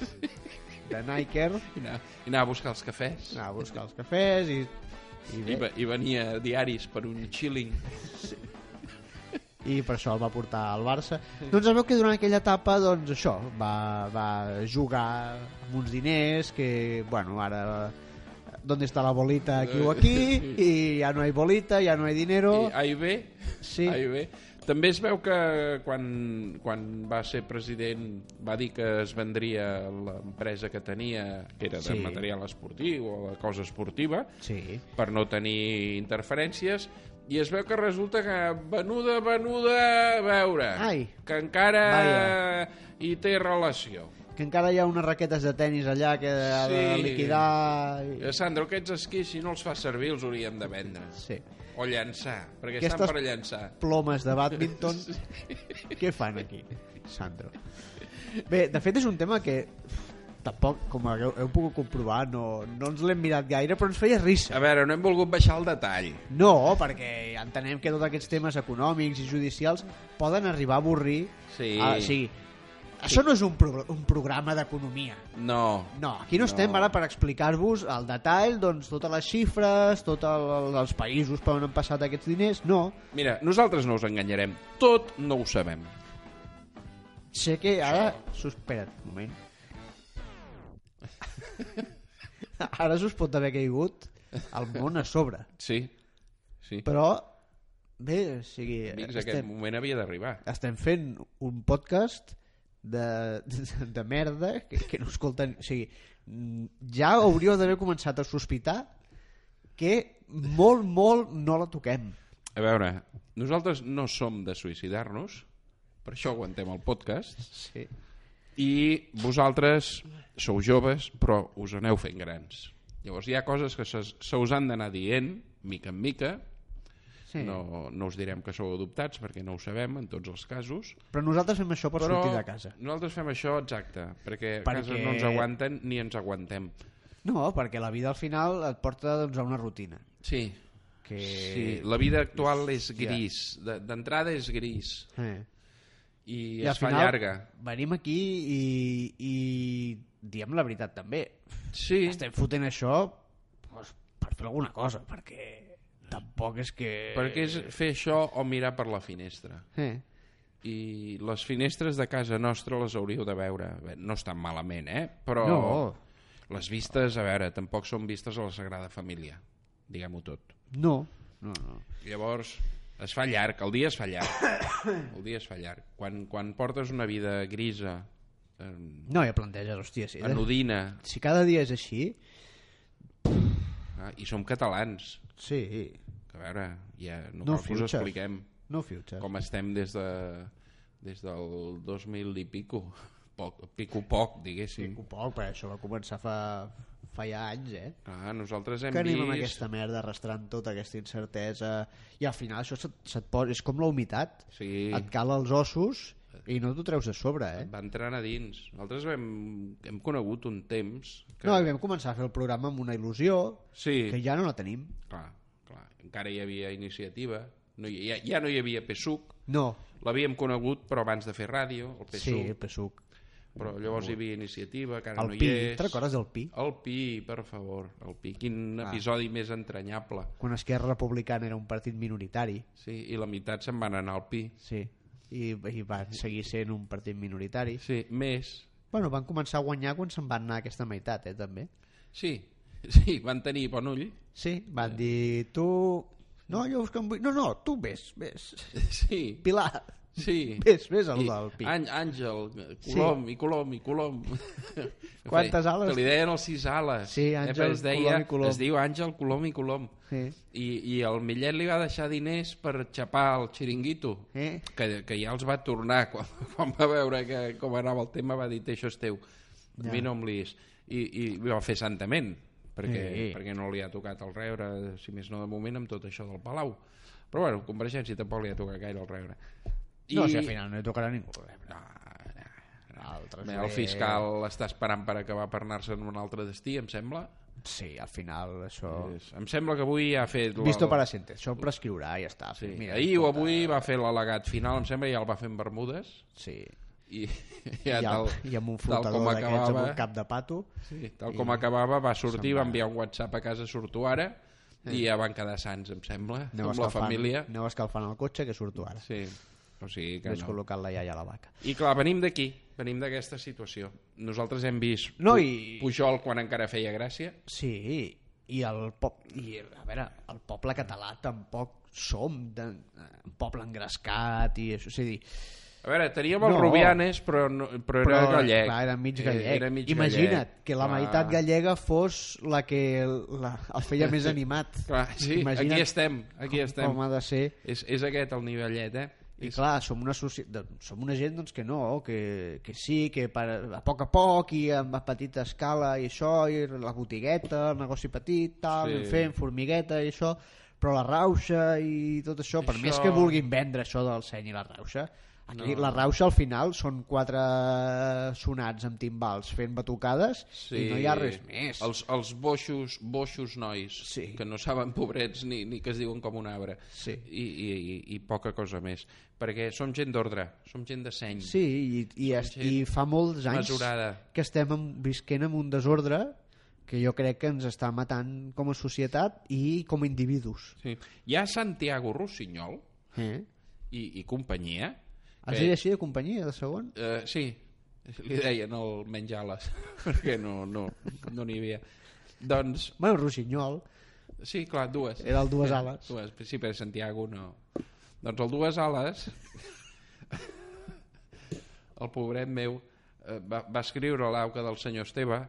de Niker,
i anava, i anava a buscar els cafès.
anava a buscar els cafès i, i,
I,
bé,
ve- I venia diaris per un xilling.
i per això el va portar al Barça. Doncs es veu que durant aquella etapa, doncs això, va, va jugar amb uns diners que, bueno, ara... ¿Dónde está la bolita? Aquí o aquí, i ja no hay bolita, ja no hay dinero.
I ah, A i B.
Sí.
A i B. També es veu que quan, quan va ser president va dir que es vendria l'empresa que tenia, que era de
Sí.
material esportiu o de cosa esportiva,
Sí.
per no tenir interferències, i es veu que resulta que venuda, venuda, a veure,
Ai.
que encara hi té relació.
Que encara hi ha unes raquetes de tennis allà que ha de
Sí.
liquidar... i-
Eh, Sandro, aquests esquís, si no els fa servir, els hauríem de vendre.
Sí.
O llançar, perquè
Aquestes-
estan per llançar.
plomes de badminton què fan aquí, Sandro? Bé, de fet és un tema que tampoc, com heu, heu pogut comprovar, no, no ens l'hem mirat gaire, però ens feia risa.
A veure, no hem volgut baixar el detall.
No, perquè entenem que tots aquests temes econòmics i judicials poden arribar a avorrir.
Sí.
Ah, sí. Això no és un, pro un programa d'economia.
No.
No, aquí no, no. estem ara per explicar-vos al detall doncs, totes les xifres, tots el, els països per on han passat aquests diners. No,
Mira, nosaltres no us enganyarem. Tot no ho sabem.
Sé que ara... Sus- Espera't, un moment. *laughs* Ara s'us pot haver caigut el món a sobre.
Sí. Sí. Però,
Però, bé, o sigui,
Amics, aquest
estem,
moment havia d'arribar.
estem fent un podcast de, de, de merda que, que no escolten... O sigui, mm, ja hauríeu d'haver començat a sospitar que molt, molt no la toquem.
A veure, nosaltres no som de suïcidar-nos, per això aguantem el podcast,
Sí.
i vosaltres sou joves, però us aneu fent grans. Llavors hi ha coses que se, se us han d'anar dient, mica en mica,
sí. No.
no, no us direm que sou adoptats perquè no ho sabem en tots els casos,
Però nosaltres fem això per però... sortir de casa.
Nosaltres fem això exacte, perquè, a
Perquè-
casa no ens aguanten ni ens aguantem.
No, perquè la vida al final et porta doncs, a una rutina.
Sí.
que...
sí. Eh, La vida actual és gris, De- d'entrada és gris
Eh.
i,
I, al
es fa
final
llarga.
venim aquí i, i diem la veritat també.
Sí,
Estem fotent això doncs, per fer alguna cosa, perquè tampoc és que...
perquè és fer això o mirar per la finestra.
Eh.
I les finestres de casa nostra les hauríeu de veure. Bé, no estan malament, eh? Però
No.
les vistes, a veure, tampoc són vistes a la Sagrada Família, diguem-ho tot.
No. No, no.
Llavors, es fa llarg, el dia es fa llarg.
*coughs*
El dia es fa llarg. Quan, quan portes una vida grisa, eh,
No, ja planteges, hòstia, si,
anodina,
si cada dia és així,
eh, i som catalans,
sí,
que a veure, ja no,
No
no cal que us
fitxes.
expliquem
no fiutxes.
com estem des de des del 2000 i pico poc, pico poc, diguéssim.
Un poc, però això va començar fa, fa ja anys, eh?
Ah, nosaltres hem
que anem amb
vist...
aquesta merda arrastrant tota aquesta incertesa i al final això se't, se't posa, és com la humitat
Sí.
et cala els ossos i no t'ho treus de sobre eh?
Va entrant a dins. Nosaltres hem, hem conegut un temps... Que...
no, i vam començar a fer el programa amb una il·lusió
sí,
que ja no la tenim
clar, clar. Encara hi havia iniciativa. No, hi- ja, ja no hi havia PSUC.
no,
L'havíem conegut, però abans de fer ràdio, el
sí,
PSUC.
el PSUC
Però llavors hi havia iniciativa, que ara
el
no hi
Pi,
és.
te'n recordes del Pi? Ah.
El Pi, per favor. El Pi, quin episodi més entranyable.
quan Esquerra Republicana era un partit minoritari
Sí, i la meitat se'n van anar al Pi.
sí i, i va seguir sent un partit minoritari
Sí, més.
bueno, van començar a guanyar quan se'n van anar aquesta meitat eh, també
Sí, *laughs* sí, van tenir bon ull.
sí, van dir tu no, jo us que em vull... no, no, tu vés, vés
Sí,
Pilar,
sí.
vés, vés al
I
del Pi.
Àng- Àngel, eh, Colom, i Colom, i Colom.
*laughs* Quantes
Fe-
ales?
Que li deien els sis ales.
Sí,
Eh,
Àngel,
però es deia,
Colom i Colom.
Es diu Àngel, Colom i Colom.
Sí.
I, I el Millet li va deixar diners per xapar el xiringuito,
Eh?
que, que ja els va tornar. *laughs* Quan, quan va veure que, com anava el tema va dir, "Té, això és teu, ja. mi no em liis. I, I ho va fer santament, perquè,
Sí.
perquè no li ha tocat el rebre, si més no de moment, amb tot això del Palau. Però bueno, Convergència tampoc li ha tocat gaire el rebre. I...
No, si al final no hi tocarà ningú.
No,
Altres
Bé, el fiscal està esperant per acabar per anar-se en un altre destí, em sembla.
Sí, al final això...
És- Em sembla que avui ha fet... la-
Oh. Visto para sente. Això tota- em prescriurà i ja està.
Sí. Mira, Ahir o avui va fer l'al·legat final, em sembla, i ja el va fer en Bermudes.
Sí.
I, *laughs*
Ja
ja
I,
tal,
amb, I amb un
tal com
flotador d'aquests amb
acabava,
un cap de pato.
sí, tal com acabava va sortir, va enviar un whatsapp a casa, surto ara, i ja van quedar sants, em sembla,
Aneu
amb la
escalfant-
família.
Aneu escalfant el cotxe que surto ara.
Sí, o sigui que
Vés
no.
col·locant la iaia a la vaca.
I clar, venim d'aquí, venim d'aquesta situació. Nosaltres hem vist
No, i...
Pujol quan encara feia gràcia,
Sí, i el pop... I, a veure, el poble català tampoc som de, eh, un poble engrescat i això, és a dir,
A veure, teníem el
No.
no. Rubianes, però, no, però, era gallec.
Clar, era mig gallec.
Eh, Era mig
Imagina't
gallec.
que la
Clar.
meitat gallega fos la que la, el feia
*laughs*
més animat.
Clar, sí, Imagina't aquí estem, aquí estem.
com ha de ser.
És, és aquest el nivellet, eh?
I clar, som una, soci... doncs, som una gent doncs, que no, que, que sí, que per, a poc a poc i amb a petita escala i això, i la botigueta, el negoci petit, tal,
Sí.
sí. fent formigueta i això, però la rauxa i tot això, per
Això-
més que vulguin vendre això del seny i la rauxa, aquí no. la rauxa al final són quatre sonats amb timbals fent batucades i no hi ha res més.
Els, els boixos, boixos nois,
Sí.
que no saben pobrets ni, ni que es diuen com un arbre.
Sí.
I, i, i, I poca cosa més. Perquè som gent d'ordre, som gent de seny.
Sí, i, i, es,
gent
i fa molts anys
mesurada.
que estem en, visquent en un desordre que jo crec que ens està matant com a societat i com a individus.
sí. Hi ha Santiago Rossinyol
Eh?
i, i companyia...
Has
que-
dit així de companyia, de segon?
Eh, sí, li deien el menjales, *laughs* perquè no n'hi no, no n'hi havia. Doncs,
Bueno, Rossinyol,
sí, clar, dues.
Era el dues ales.
Dues, sí, però Santiago no. Doncs el dues ales, *laughs* el pobret meu, eh, va, va escriure l'auca del senyor Esteve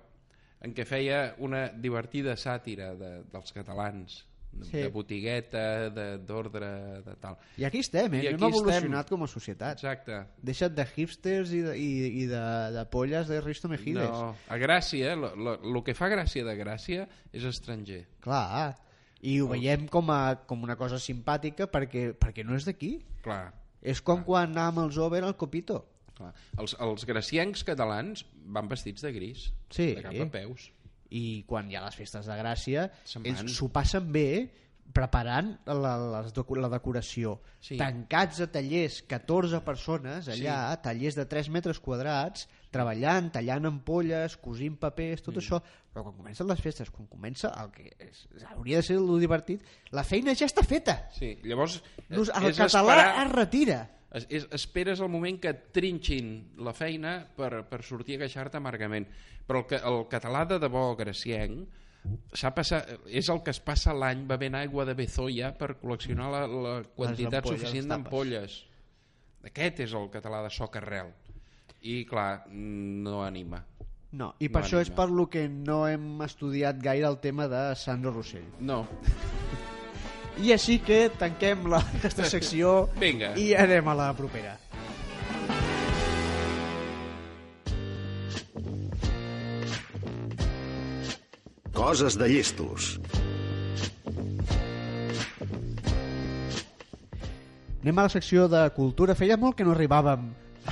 en què feia una divertida sàtira de, dels catalans, de,
Sí.
sí. de botigueta, de- d'ordre, de, de tal.
i aquí estem, eh?
I
Hem
aquí estem.
evolucionat com a societat.
Exacte,
Deixa't de hipsters i de, i, i de, de polles de Risto Mejides.
No, a Gràcia, el que fa gràcia de Gràcia és estranger.
Clar, i ho veiem com, a, com una cosa simpàtica perquè, perquè no és d'aquí.
Clar,
És
Ah.
com quan anàvem als over al Copito.
clar. Els, els graciencs catalans van vestits de gris,
Sí.
de cap a peus.
i quan hi ha les festes de Gràcia
Se'n
ells
van.
s'ho passen bé preparant la, les docu- la decoració sí.
Sí.
tancats a tallers 14 persones allà, sí. tallers de 3 metres quadrats treballant, tallant ampolles cosint papers, tot mm. això però quan comencen les festes, quan comença el que és, hauria de ser el divertit la feina ja està feta
Sí, llavors
Nos,
eh,
el
és
català
esperar-
es retira
Es, és, esperes el moment que et trinxin la feina per, per sortir a queixar-te amargament. Però el, que, el català de debò gracienc s'ha passat, és el que es passa l'any bevent aigua de Bezoia per col·leccionar la, la quantitat
ampolles,
suficient
les tapes.
d'ampolles. Aquest és el català de soc arrel. I clar, mm, no anima.
no, i per
No
això és
anima.
per lo que no hem estudiat gaire el tema de Sandro Rossell
No,
I així que tanquem la, *laughs* aquesta secció
Vinga.
i anem a la propera.
Coses de llestos.
Anem a la secció de cultura. Feia molt que no arribàvem *laughs*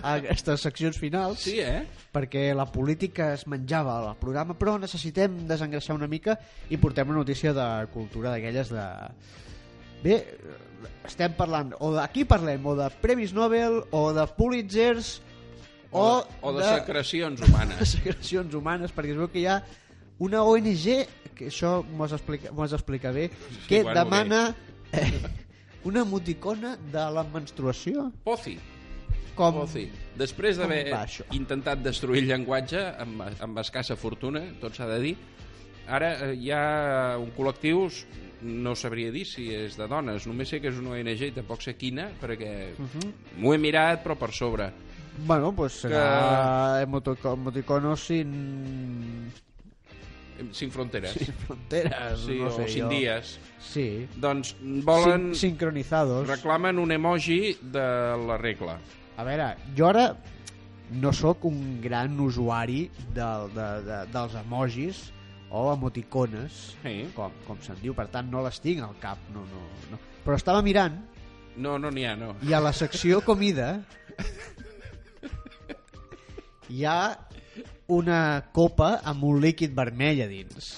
a aquestes seccions finals
Sí, eh?
perquè la política es menjava al programa, però necessitem desengreixar una mica i portem una notícia de cultura d'aquelles de... Bé, estem parlant o d'aquí parlem, o de Premis Nobel, o de Pulitzers,
O,
o,
o de secrecions humanes.
secrecions humanes, perquè es veu que hi ha una ONG, que això m'ho has, explica, m'ho has explicat bé, que
bueno,
demana eh, una emoticona de la menstruació.
Pozi.
Com...
Pozi. Després d'haver
Com va això?
intentat destruir el llenguatge amb, amb escassa fortuna, tot s'ha de dir, ara eh, hi ha un col·lectiu, s- no sabria dir si és de dones, només sé que és una ONG i tampoc sé quina, perquè uh
Mhm.
-huh. m'ho he mirat, però per sobre.
Bueno, pues serà que... emoticonos sin...
Sin fronteres.
sin fronteras,
*laughs* Sí,
no
o
sé
sin
jo.
dies.
Sí.
Doncs volen...
Sin- sincronizados.
Reclamen un emoji de la regla.
A veure, jo ara no sóc un gran usuari del, de, de, dels emojis o emoticones,
Sí.
com, com se'n diu, per tant no les tinc al cap. No, no, no. Però estava mirant
No, no n'hi ha, no.
i a la secció comida hi ha una copa amb un líquid vermell a dins.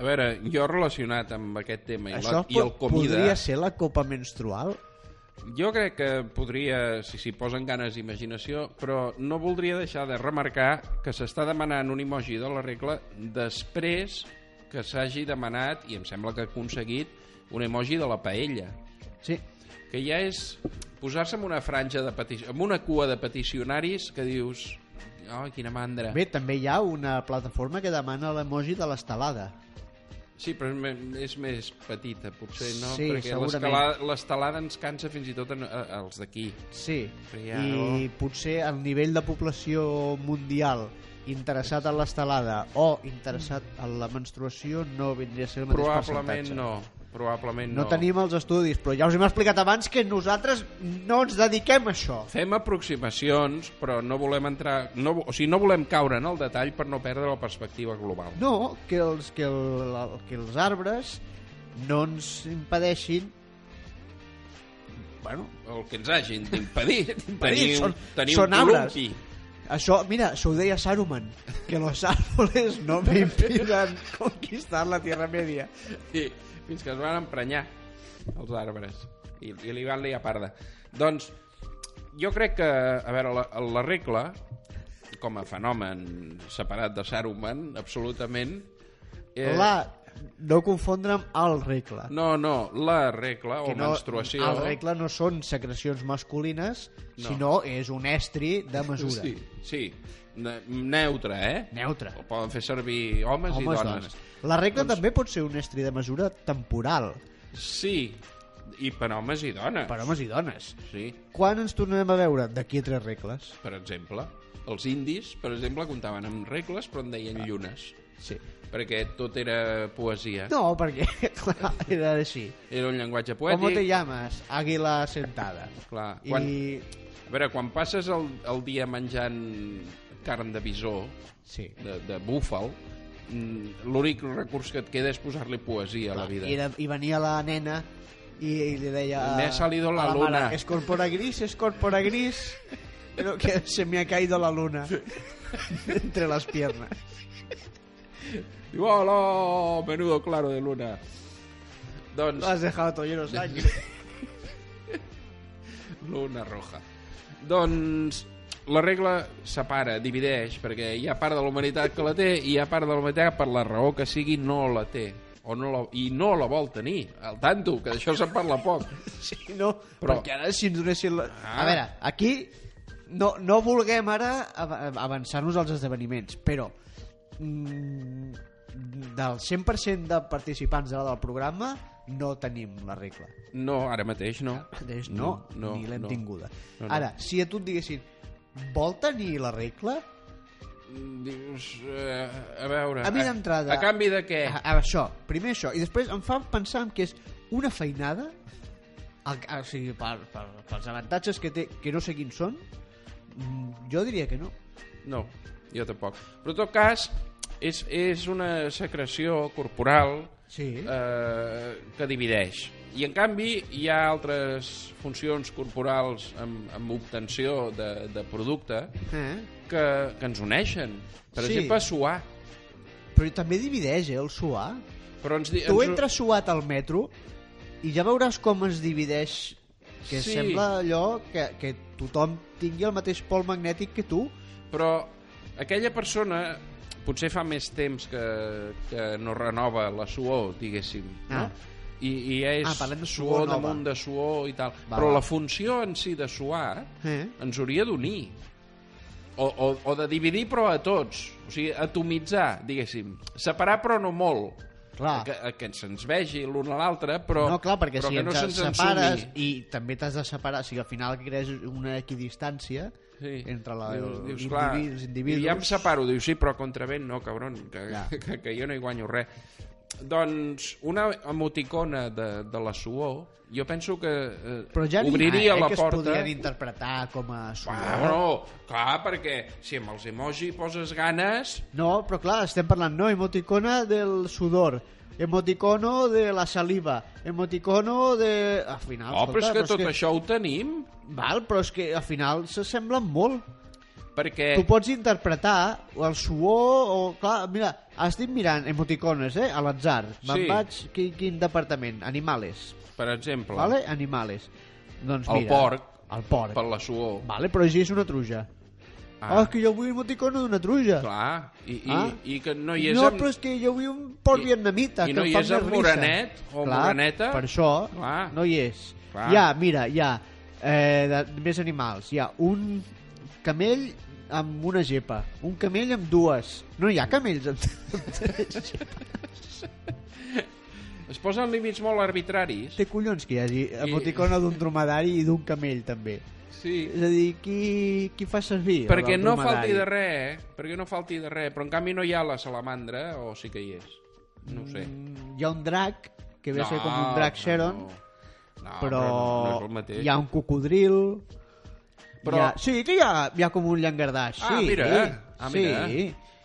A veure, jo relacionat amb aquest tema i,
Això
la, i el
po-
comida...
podria ser la copa menstrual?
Jo crec que podria, si s'hi posen ganes, imaginació, però no voldria deixar de remarcar que s'està demanant un emoji de la regla després que s'hagi demanat, i em sembla que ha aconseguit, un emoji de la paella,
Sí.
que ja és posar-se en una franja de peti- amb una cua de peticionaris que dius, oh, quina mandra.
Bé, també hi ha una plataforma que demana l'emoji de l'estelada.
Sí, però és, me- és més petita, potser, no?
Sí,
Perquè
segurament.
l'escala- l'estelada ens cansa fins i tot en, a, als d'aquí.
Sí.
Però ja
I potser el nivell de població mundial interessat en l'estelada o interessat en la menstruació no vindria a ser el mateix
Probablement
percentatge.
no. Probablement
No,
no.
tenim els estudis, però ja us hem explicat abans que nosaltres no ens dediquem a això.
Fem aproximacions, però no volem entrar... No, vo- o sigui, no volem caure en el detall per no perdre la perspectiva global.
No, que els, que, el, el- que els arbres no ens impedeixin
Bueno, el que ens hagin
*laughs*
d'impedir.
Impedir, són-
tenir
són
un
arbres.
columpi.
Això, mira, això ho deia Saruman, que los árboles no me impidan conquistar la Tierra Media.
Sí, fins que es van emprenyar els arbres i, i li van liar parda. Doncs jo crec que, a veure, la, la regla, com a fenomen separat de Saruman, absolutament...
Eh. La, no confondre amb el regle.
No, no, la regla o
no,
menstruació...
El regle no són secrecions masculines,
No.
no. sinó és un estri de mesura.
Sí, sí. Ne neutre, eh?
Neutre.
Ho poden fer servir homes,
Homes,
i dones.
dones. La regla doncs... també pot ser un estri de mesura temporal
Sí, i per homes i dones.
per homes i dones.
Sí,
Quan ens tornarem a veure? D'aquí a tres regles.
per exemple. Els indis, per exemple, comptaven amb regles, però en deien llunes.
Sí.
perquè tot era poesia. No.
No, perquè, *laughs* clar, era així.
Era un llenguatge
¿Cómo te
poètic.
llamas? Águila sentada.
Clar,
I...
quan, A veure, quan passes el, el dia menjant carn de bisó,
Sí.
de, de búfal, mm, l'únic recurs que et queda és posar-li poesia a la vida.
I, era, I venia la nena i, i li deia...
Me ha salido la
a
luna.
Mare, es corpora gris, es corpora gris, pero que se me ha caído la luna *laughs* entre las piernas.
Diu, hola, menudo claro de luna. Doncs...
Lo has dejado todo lleno de
*laughs*
sangre.
Luna roja. Doncs la regla separa, divideix, perquè hi ha part de la humanitat que la té i hi ha part de la humanitat que per la raó que sigui no la té o no la, i no la vol tenir. Al tanto, que d'això se'n parla poc.
Sí, no,
Però-
però... perquè ara si ens donessin... La...
Ah.
A veure, aquí no, no vulguem ara av- avançar-nos als esdeveniments, però mm, del 100% de participants ara del programa no tenim la regla.
No, ara mateix no.
Mateix no, no, ni l'hem
no.
tinguda. No,
No, no.
no. Ara, si a tu et diguessin vol tenir la regla?
Mm, Dius, eh, a veure...
A mi d'entrada...
A, a canvi de què?
A, a, això, primer això, i després em fa pensar en que és una feinada el, o sigui, per, per, pels avantatges que té, que no sé quins són, mm, jo diria que no.
No, jo tampoc. Però en tot cas, és, és una secreció corporal
Sí.
eh, que divideix. I, en canvi, hi ha altres funcions corporals amb, amb obtenció de, de producte
Eh?
que, que ens uneixen. Per
Sí.
exemple, suar.
Però també divideix, eh, el suar.
Però ens, di-
Tu
ens-
entres suat al metro i ja veuràs com es divideix que
Sí.
sembla allò que, que tothom tingui el mateix pol magnètic que tu.
però aquella persona potser fa més temps que, que no renova la suor, diguéssim,
Ah.
no? I, i ja és
Ah, parlem de suor
suor
nova.
damunt de suor i tal.
Va,
Però
va.
la funció en si de suar
Eh?
ens hauria d'unir. O, o, o de dividir, però a tots. O sigui, atomitzar, diguéssim. Separar, però no molt.
Clar.
Que, que se'ns vegi l'un a l'altre, però...
no, clar, perquè
però
si
que
ens
no se'ns ensumi.
separes i també t'has de separar, si al final crees una equidistància
Sí.
entre la,
dius, dius,
individu-
clar,
els individus...
I ja em separo, dius, sí, però contra vent no, cabron, que,
Ja.
*laughs* que, que jo no hi guanyo res. Doncs una emoticona de, de la suor, jo penso que eh,
Però ja n'hi ha,
obriria
eh,
la
que
porta...
es podrien interpretar com a
Ah,
suar.
no, clar, perquè si amb els emoji poses ganes...
No, però clar, estem parlant, no, emoticona del sudor, emoticono de la saliva, emoticono de... Al final,
Oh, però és
Ah, escolta,
que tot això ho tenim,
Val, però és que al final s'assemblen molt.
perquè...
Tu pots interpretar el suor o... Clar, mira, has dit mirant emoticones, eh? A l'atzar. Me'n
Sí.
vaig... Quin, quin departament? Animales.
Per exemple,
Vale? Animales. Doncs
El
mira...
porc.
El porc.
per la suor...
Vale, però així és una truja. Ah,
Ah,
és que jo vull emoticono d'una truja.
clar, i, i,
Ah.
i que no hi és...
no,
amb-
però és que jo vull un porc
I-
vietnamita.
i
que
no
em
hi
fa
és
més
el
risa.
morenet o
Clar,
moreneta.
Per això
Clar.
no hi és.
Clar.
Hi ha, mira, hi ha eh, de, més animals. Hi ha un camell amb una gepa, un camell amb dues. No hi ha camells *laughs* amb, amb tres gepes.
Es posen límits molt arbitraris.
Té collons que hi hagi emoticona d'un dromedari i d'un camell, també.
Sí.
És a dir, qui, qui fa servir? el
Perquè
del
no
dromedari?
falti de res, eh? Perquè no falti de res. Però en canvi no hi ha la salamandra, o sí que hi és. No ho sé.
Mm, Hi ha un drac, que ve a ser com un drac Sharon,
No. No,
però,
Ah, no, no és el mateix.
hi ha un cocodril...
Però-
Però... Hi ha... Sí, que hi ha, hi ha com un llangardaix. Sí,
Ah, mira, eh? Ah, mira,
Sí,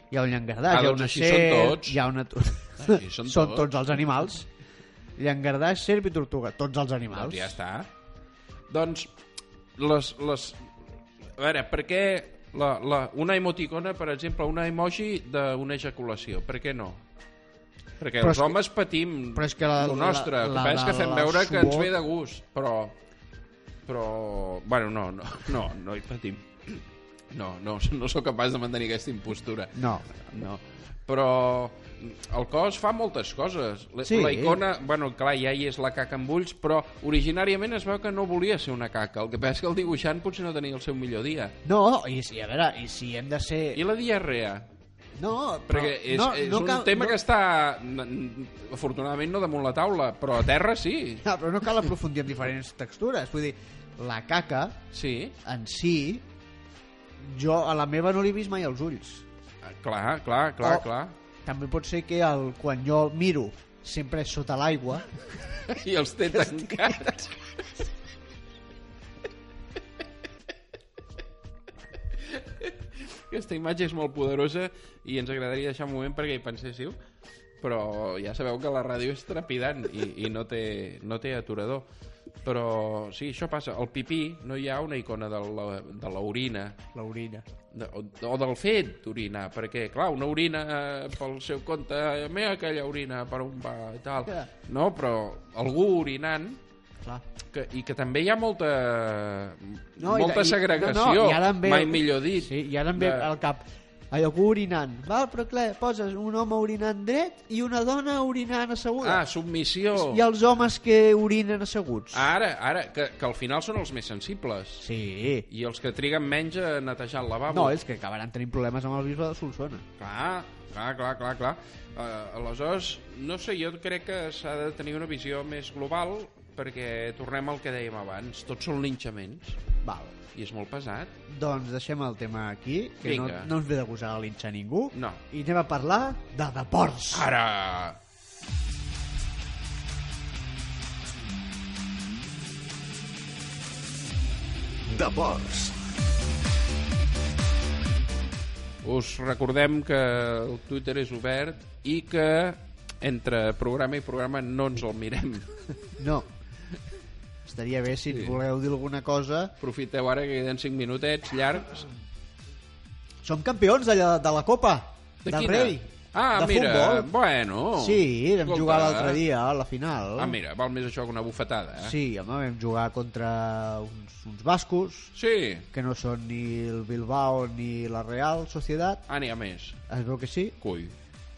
hi ha un llangardaix,
Ah,
hi ha
doncs
una
així són tots. Ah,
hi ha una...
Així són
*laughs* són
tots.
tots els animals. Llangardaix, serp i tortuga, tots els animals.
Doncs ja està. Doncs, les... les... A veure, per què la, la, una emoticona, per exemple, una emoji d'una ejaculació? Per què no? Perquè
Però
els
és que-
homes patim
però és que la-
el nostre.
la-
El que passa és que
la-
fem
la
veure que ens
suor-
ve de gust, però... Però... Bueno, no, no, no, no hi patim. No, no, no sóc capaç de mantenir aquesta impostura.
No.
No. Però mm, el cos fa moltes coses. La,
Sí.
la icona, bueno, clar, ja hi és la caca amb ulls, però originàriament es veu que no volia ser una caca. El que passa és que el dibuixant potser no tenia el seu millor dia.
No, i si, a veure, i si hem de ser...
I la diarrea?
No, però...
Perquè és,
no,
és
no
un
cal, no...
tema que està, n- n- afortunadament, no damunt la taula, però a terra sí.
No, però no cal aprofundir en diferents textures. Vull dir, la caca
Sí,
en si, jo a la meva no li he vist mai els ulls.
Ah, clar, clar, clar,
Oh.
clar.
També pot ser que el, quan jo el miro sempre és sota l'aigua.
I els té tancats. Aquesta imatge és molt poderosa i ens agradaria deixar un moment perquè hi penséssiu, però ja sabeu que la ràdio és trepidant i, i no, té, no té aturador. Però sí, això passa. Al pipí no hi ha una icona de la- de l'orina
L'orina.
de, o, o del fet d'orinar, perquè, clar, una orina eh, pel seu compte, eh, mira aquella orina per un va i tal.
Ja.
No, però algú orinant,
Clar.
que, i que també hi ha molta, no,
i-
molta
i-
segregació,
i ara em ve-
mai millor dit.
Sí, i ara em ve
de-
al cap Ai, algú orinant. Va, però clar, poses un home orinant dret i una dona orinant asseguda.
Ah, submissió.
Hi ha els homes que orinen asseguts.
Ara, ara, que, que al final són els més sensibles
Sí.
i els que triguen menys a netejar el lavabo.
No, és que acabaran tenint problemes amb el bisbe de Solsona.
Clar, clar, clar, clar, clar. Uh, aleshores, no sé, jo crec que s'ha de tenir una visió més global perquè tornem al que dèiem abans, tots són linxaments
Val.
i és molt pesat.
Doncs deixem el tema aquí, que no,
Vinga.
no ens ve de gosar a linxar ningú.
No.
I anem a parlar de deports.
Ara!
Deports.
Uh, us recordem que el Twitter és obert i que entre programa i programa no ens el mirem.
No. Estaria bé si
Sí.
voleu dir alguna cosa.
Aprofiteu ara que queden 5 minutets llargs.
Som campions de la, de la Copa
De
del
quina?
Rei.
Ah,
de
mira,
futbol.
bueno.
Sí, vam
Escolta.
jugar l'altre dia a la final.
Ah, mira, val més això que una bufetada. Eh?
Sí, home, vam jugar contra uns, uns bascos
Sí,
que no són ni el Bilbao ni la Real Societat.
ah, n'hi ha més.
Es veu que sí.
Cui.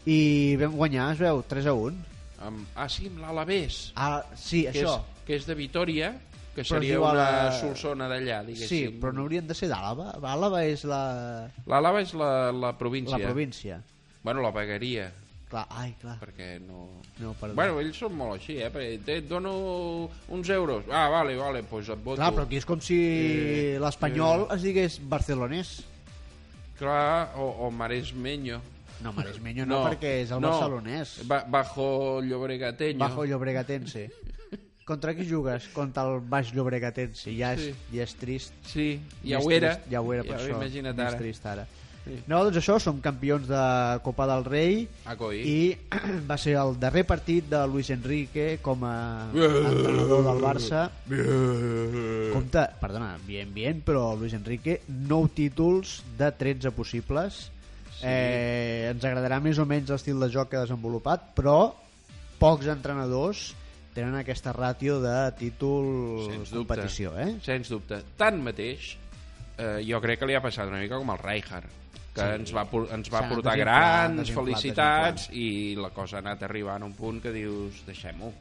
I vam guanyar, es veu, 3 a 1.
Amb... Ah, sí, amb l'Alavés.
Ah, sí,
que
això.
És, que és de Vitoria, que
Però
seria
es diu a
una
la-
la... solsona d'allà,
Sí,
diguéssim.
però no haurien de ser d'Àlava. Àlava és la,
L'Àlava és la, la província.
la província.
Bueno, la vegueria,
Clar, ai, clar.
perquè no...
No, perdó.
Bueno, ells són molt així, eh? Perquè et- et dono uns euros. Ah, vale, vale, doncs et voto.
Clar, però aquí és com si l'espanyol es digués barcelonès.
Clar, o, o maresmeño.
No, maresmenyo no, no perquè és el
no.
barcelonès.
Ba bajo llobregateño.
Bajo
*laughs*
Llobregatense. Contra qui jugues? Contra el Baix Llobregatense. Ja és,
Sí.
ja és trist.
Sí, ja
Més
ho era.
trist, Ja ho era, per això.
Imagina't
Més
ara.
trist ara.
Sí.
No, doncs això, som campions de Copa del Rei
Ah, coi.
i *clears throat* va ser el darrer partit de Luis Enrique com a entrenador del Barça. Compte, perdona, bien, bien, però Luis Enrique, 9 títols de 13 possibles. Eh, ens agradarà més o menys l'estil de joc que ha desenvolupat, però pocs entrenadors tenen aquesta ràtio de títol
Sens dubte.
competició, eh?
Sens dubte. Tanmateix, eh, jo crec que li ha passat una mica com al Rijkaard, que
Sí.
sí. ens va, por- ens
S'ha
va
anat
portar
desinflant,
grans
desinflant,
felicitats i la cosa ha anat arribant a un punt que dius, deixem-ho.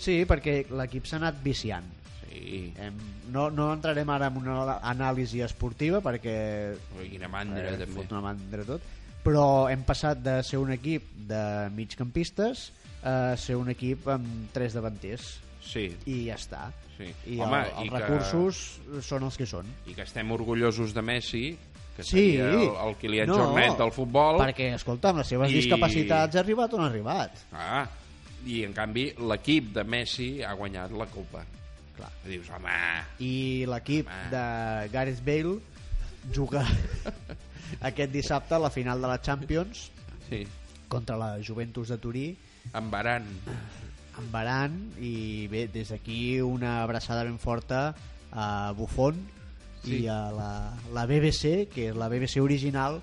Sí, perquè l'equip s'ha anat viciant.
Sí.
Em, No, no entrarem ara en una ala- anàlisi esportiva perquè
Ui, Quina mandra,
eh,
eh, també.
fot una mandra tot, però hem passat de ser un equip de migcampistes a ser un equip amb tres davanters
Sí,
i ja està.
Sí.
I
Home,
el, els
i que-
recursos són els que són.
i que estem orgullosos de Messi, que
Sí,
seria el, el Kilian no, Jornet del futbol.
Perquè, escolta, amb les seves
I-
discapacitats ha arribat on ha arribat.
Ah, i en canvi l'equip de Messi ha guanyat la Copa.
Clar.
I dius, home,
i l'equip
Home.
de Gareth Bale juga *laughs* aquest dissabte a la final de la Champions
sí,
contra la Juventus de Turí
en Baran.
amb Baran i bé, des d'aquí una abraçada ben forta a Buffon
Sí.
i a la, la BBC que és la BBC original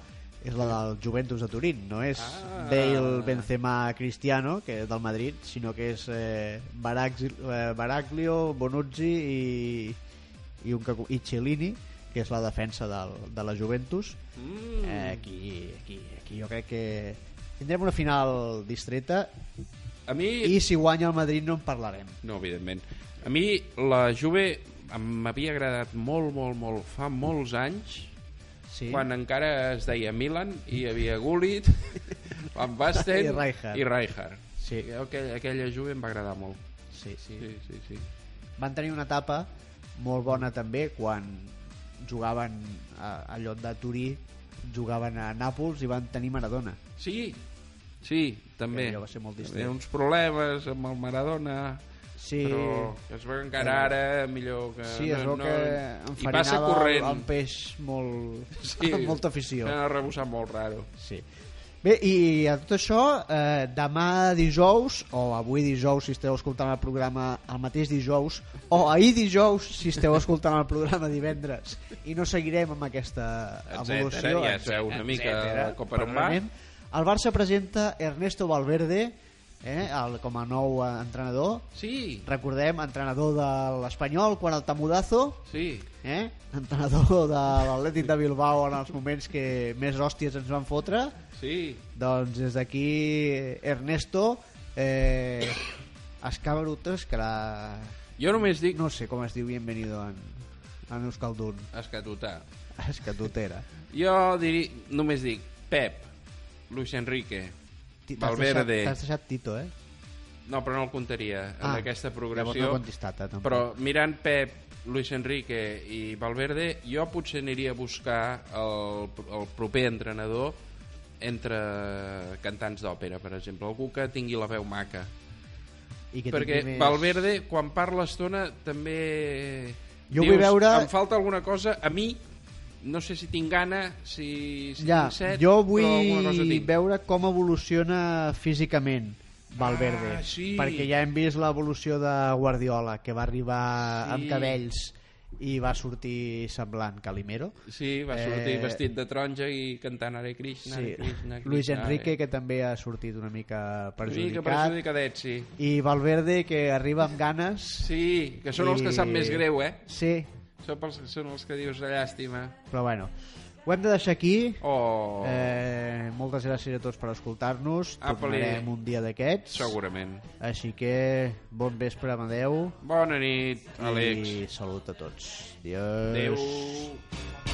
és la del Juventus de Turín no és
Ah.
Bale, Benzema, Cristiano que és del Madrid, sinó que és eh, Barax, eh, Baraglio Bonucci i, i, un que, i Cellini que és la defensa del, de la Juventus
Mm.
eh, aquí, aquí, aquí jo crec que tindrem una final distreta
A mi...
i si guanya el Madrid no en parlarem.
No, evidentment. A mi la Juve em- m'havia agradat molt, molt, molt fa molts anys
Sí.
quan encara es deia Milan i hi havia Gullit,
*laughs*
Van
I
Basten
Rijkaard.
i Rijkaard.
Sí.
Aquella, aquella Juve em va agradar molt.
Sí, sí.
Sí, sí, sí.
Van tenir una etapa molt bona també quan jugaven a, a lloc de Turí, jugaven a Nàpols i van tenir Maradona.
Sí, sí, també.
allò va ser molt distret.
Hi uns problemes amb el Maradona,
Sí.
però es veu que encara ara millor que...
Sí, es veu que
Eh, I
enfarinava
passa
el,
corrent.
el peix molt, *laughs*
Sí. Eh,
amb molta afició.
S'ha arrebossat molt raro.
Sí. Bé, i a tot això, eh, demà dijous, o avui dijous si esteu escoltant el programa el mateix dijous, o ahir dijous si esteu escoltant el programa divendres i no seguirem amb aquesta
Etcètera,
evolució,
ja sabeu una mica
etcètera,
com per on va.
probablement. El Barça presenta Ernesto Valverde eh, el, com a nou eh, entrenador.
Sí,
Recordem, entrenador de l'Espanyol quan el Tamudazo
sí.
eh? entrenador de l'Atlètic de Bilbao en els moments que més hòsties ens van fotre
Sí,
doncs des d'aquí Ernesto eh, Escabrutes que la...
jo només dic
no sé com es diu bienvenido en, en Euskaldun *laughs*
escatotar.
Escatutera
Jo diri, només dic Pep, Luis Enrique,
Ti- t'has
Valverde...
deixat- t'has deixat Tito eh?
No, però no el comptaria en
Ah,
aquesta
llavors no
progressió.
he contestat, eh, tampoc.
però mirant Pep, Luis Enrique i Valverde, jo potser aniria a buscar el, el proper entrenador entre cantants d'òpera, per exemple. Algú que tingui la veu maca.
I que
Perquè
tingui més-
Valverde, quan parla estona, també...
Jo vull veure-
Em falta alguna cosa a mi no sé si tinc gana, si, si
Ja,
tinc set,
jo
però alguna cosa
vull
tinc.
veure com evoluciona físicament Valverde,
Ah, sí.
perquè ja hem vist l'evolució de Guardiola, que va arribar
Sí.
amb cabells i va sortir semblant Calimero.
Sí, va sortir
Eh,
vestit de taronja i cantant Hare Krishna,
Sí.
Hare Krishna, Krishna,
Luis Enrique,
Hare-
que també ha sortit una mica
Sí, que
perjudicat.
perjudicadet, sí.
I Valverde, que arriba amb ganes.
Sí, que són els que
I-
sap més greu, eh?
Sí,
Són els, són els que dius de llàstima.
però bueno. Ho hem de deixar aquí.
Oh, Ah, eh...
Eh, moltes gràcies a tots per escoltar-nos.
Apa-li.
Tornarem un dia d'aquests.
segurament.
Així que bon vespre, Amadeu.
Bona nit, Àlex.
I salut a tots. Adiós.
Adéu.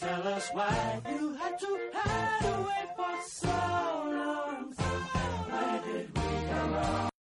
Tell us why you had to hide.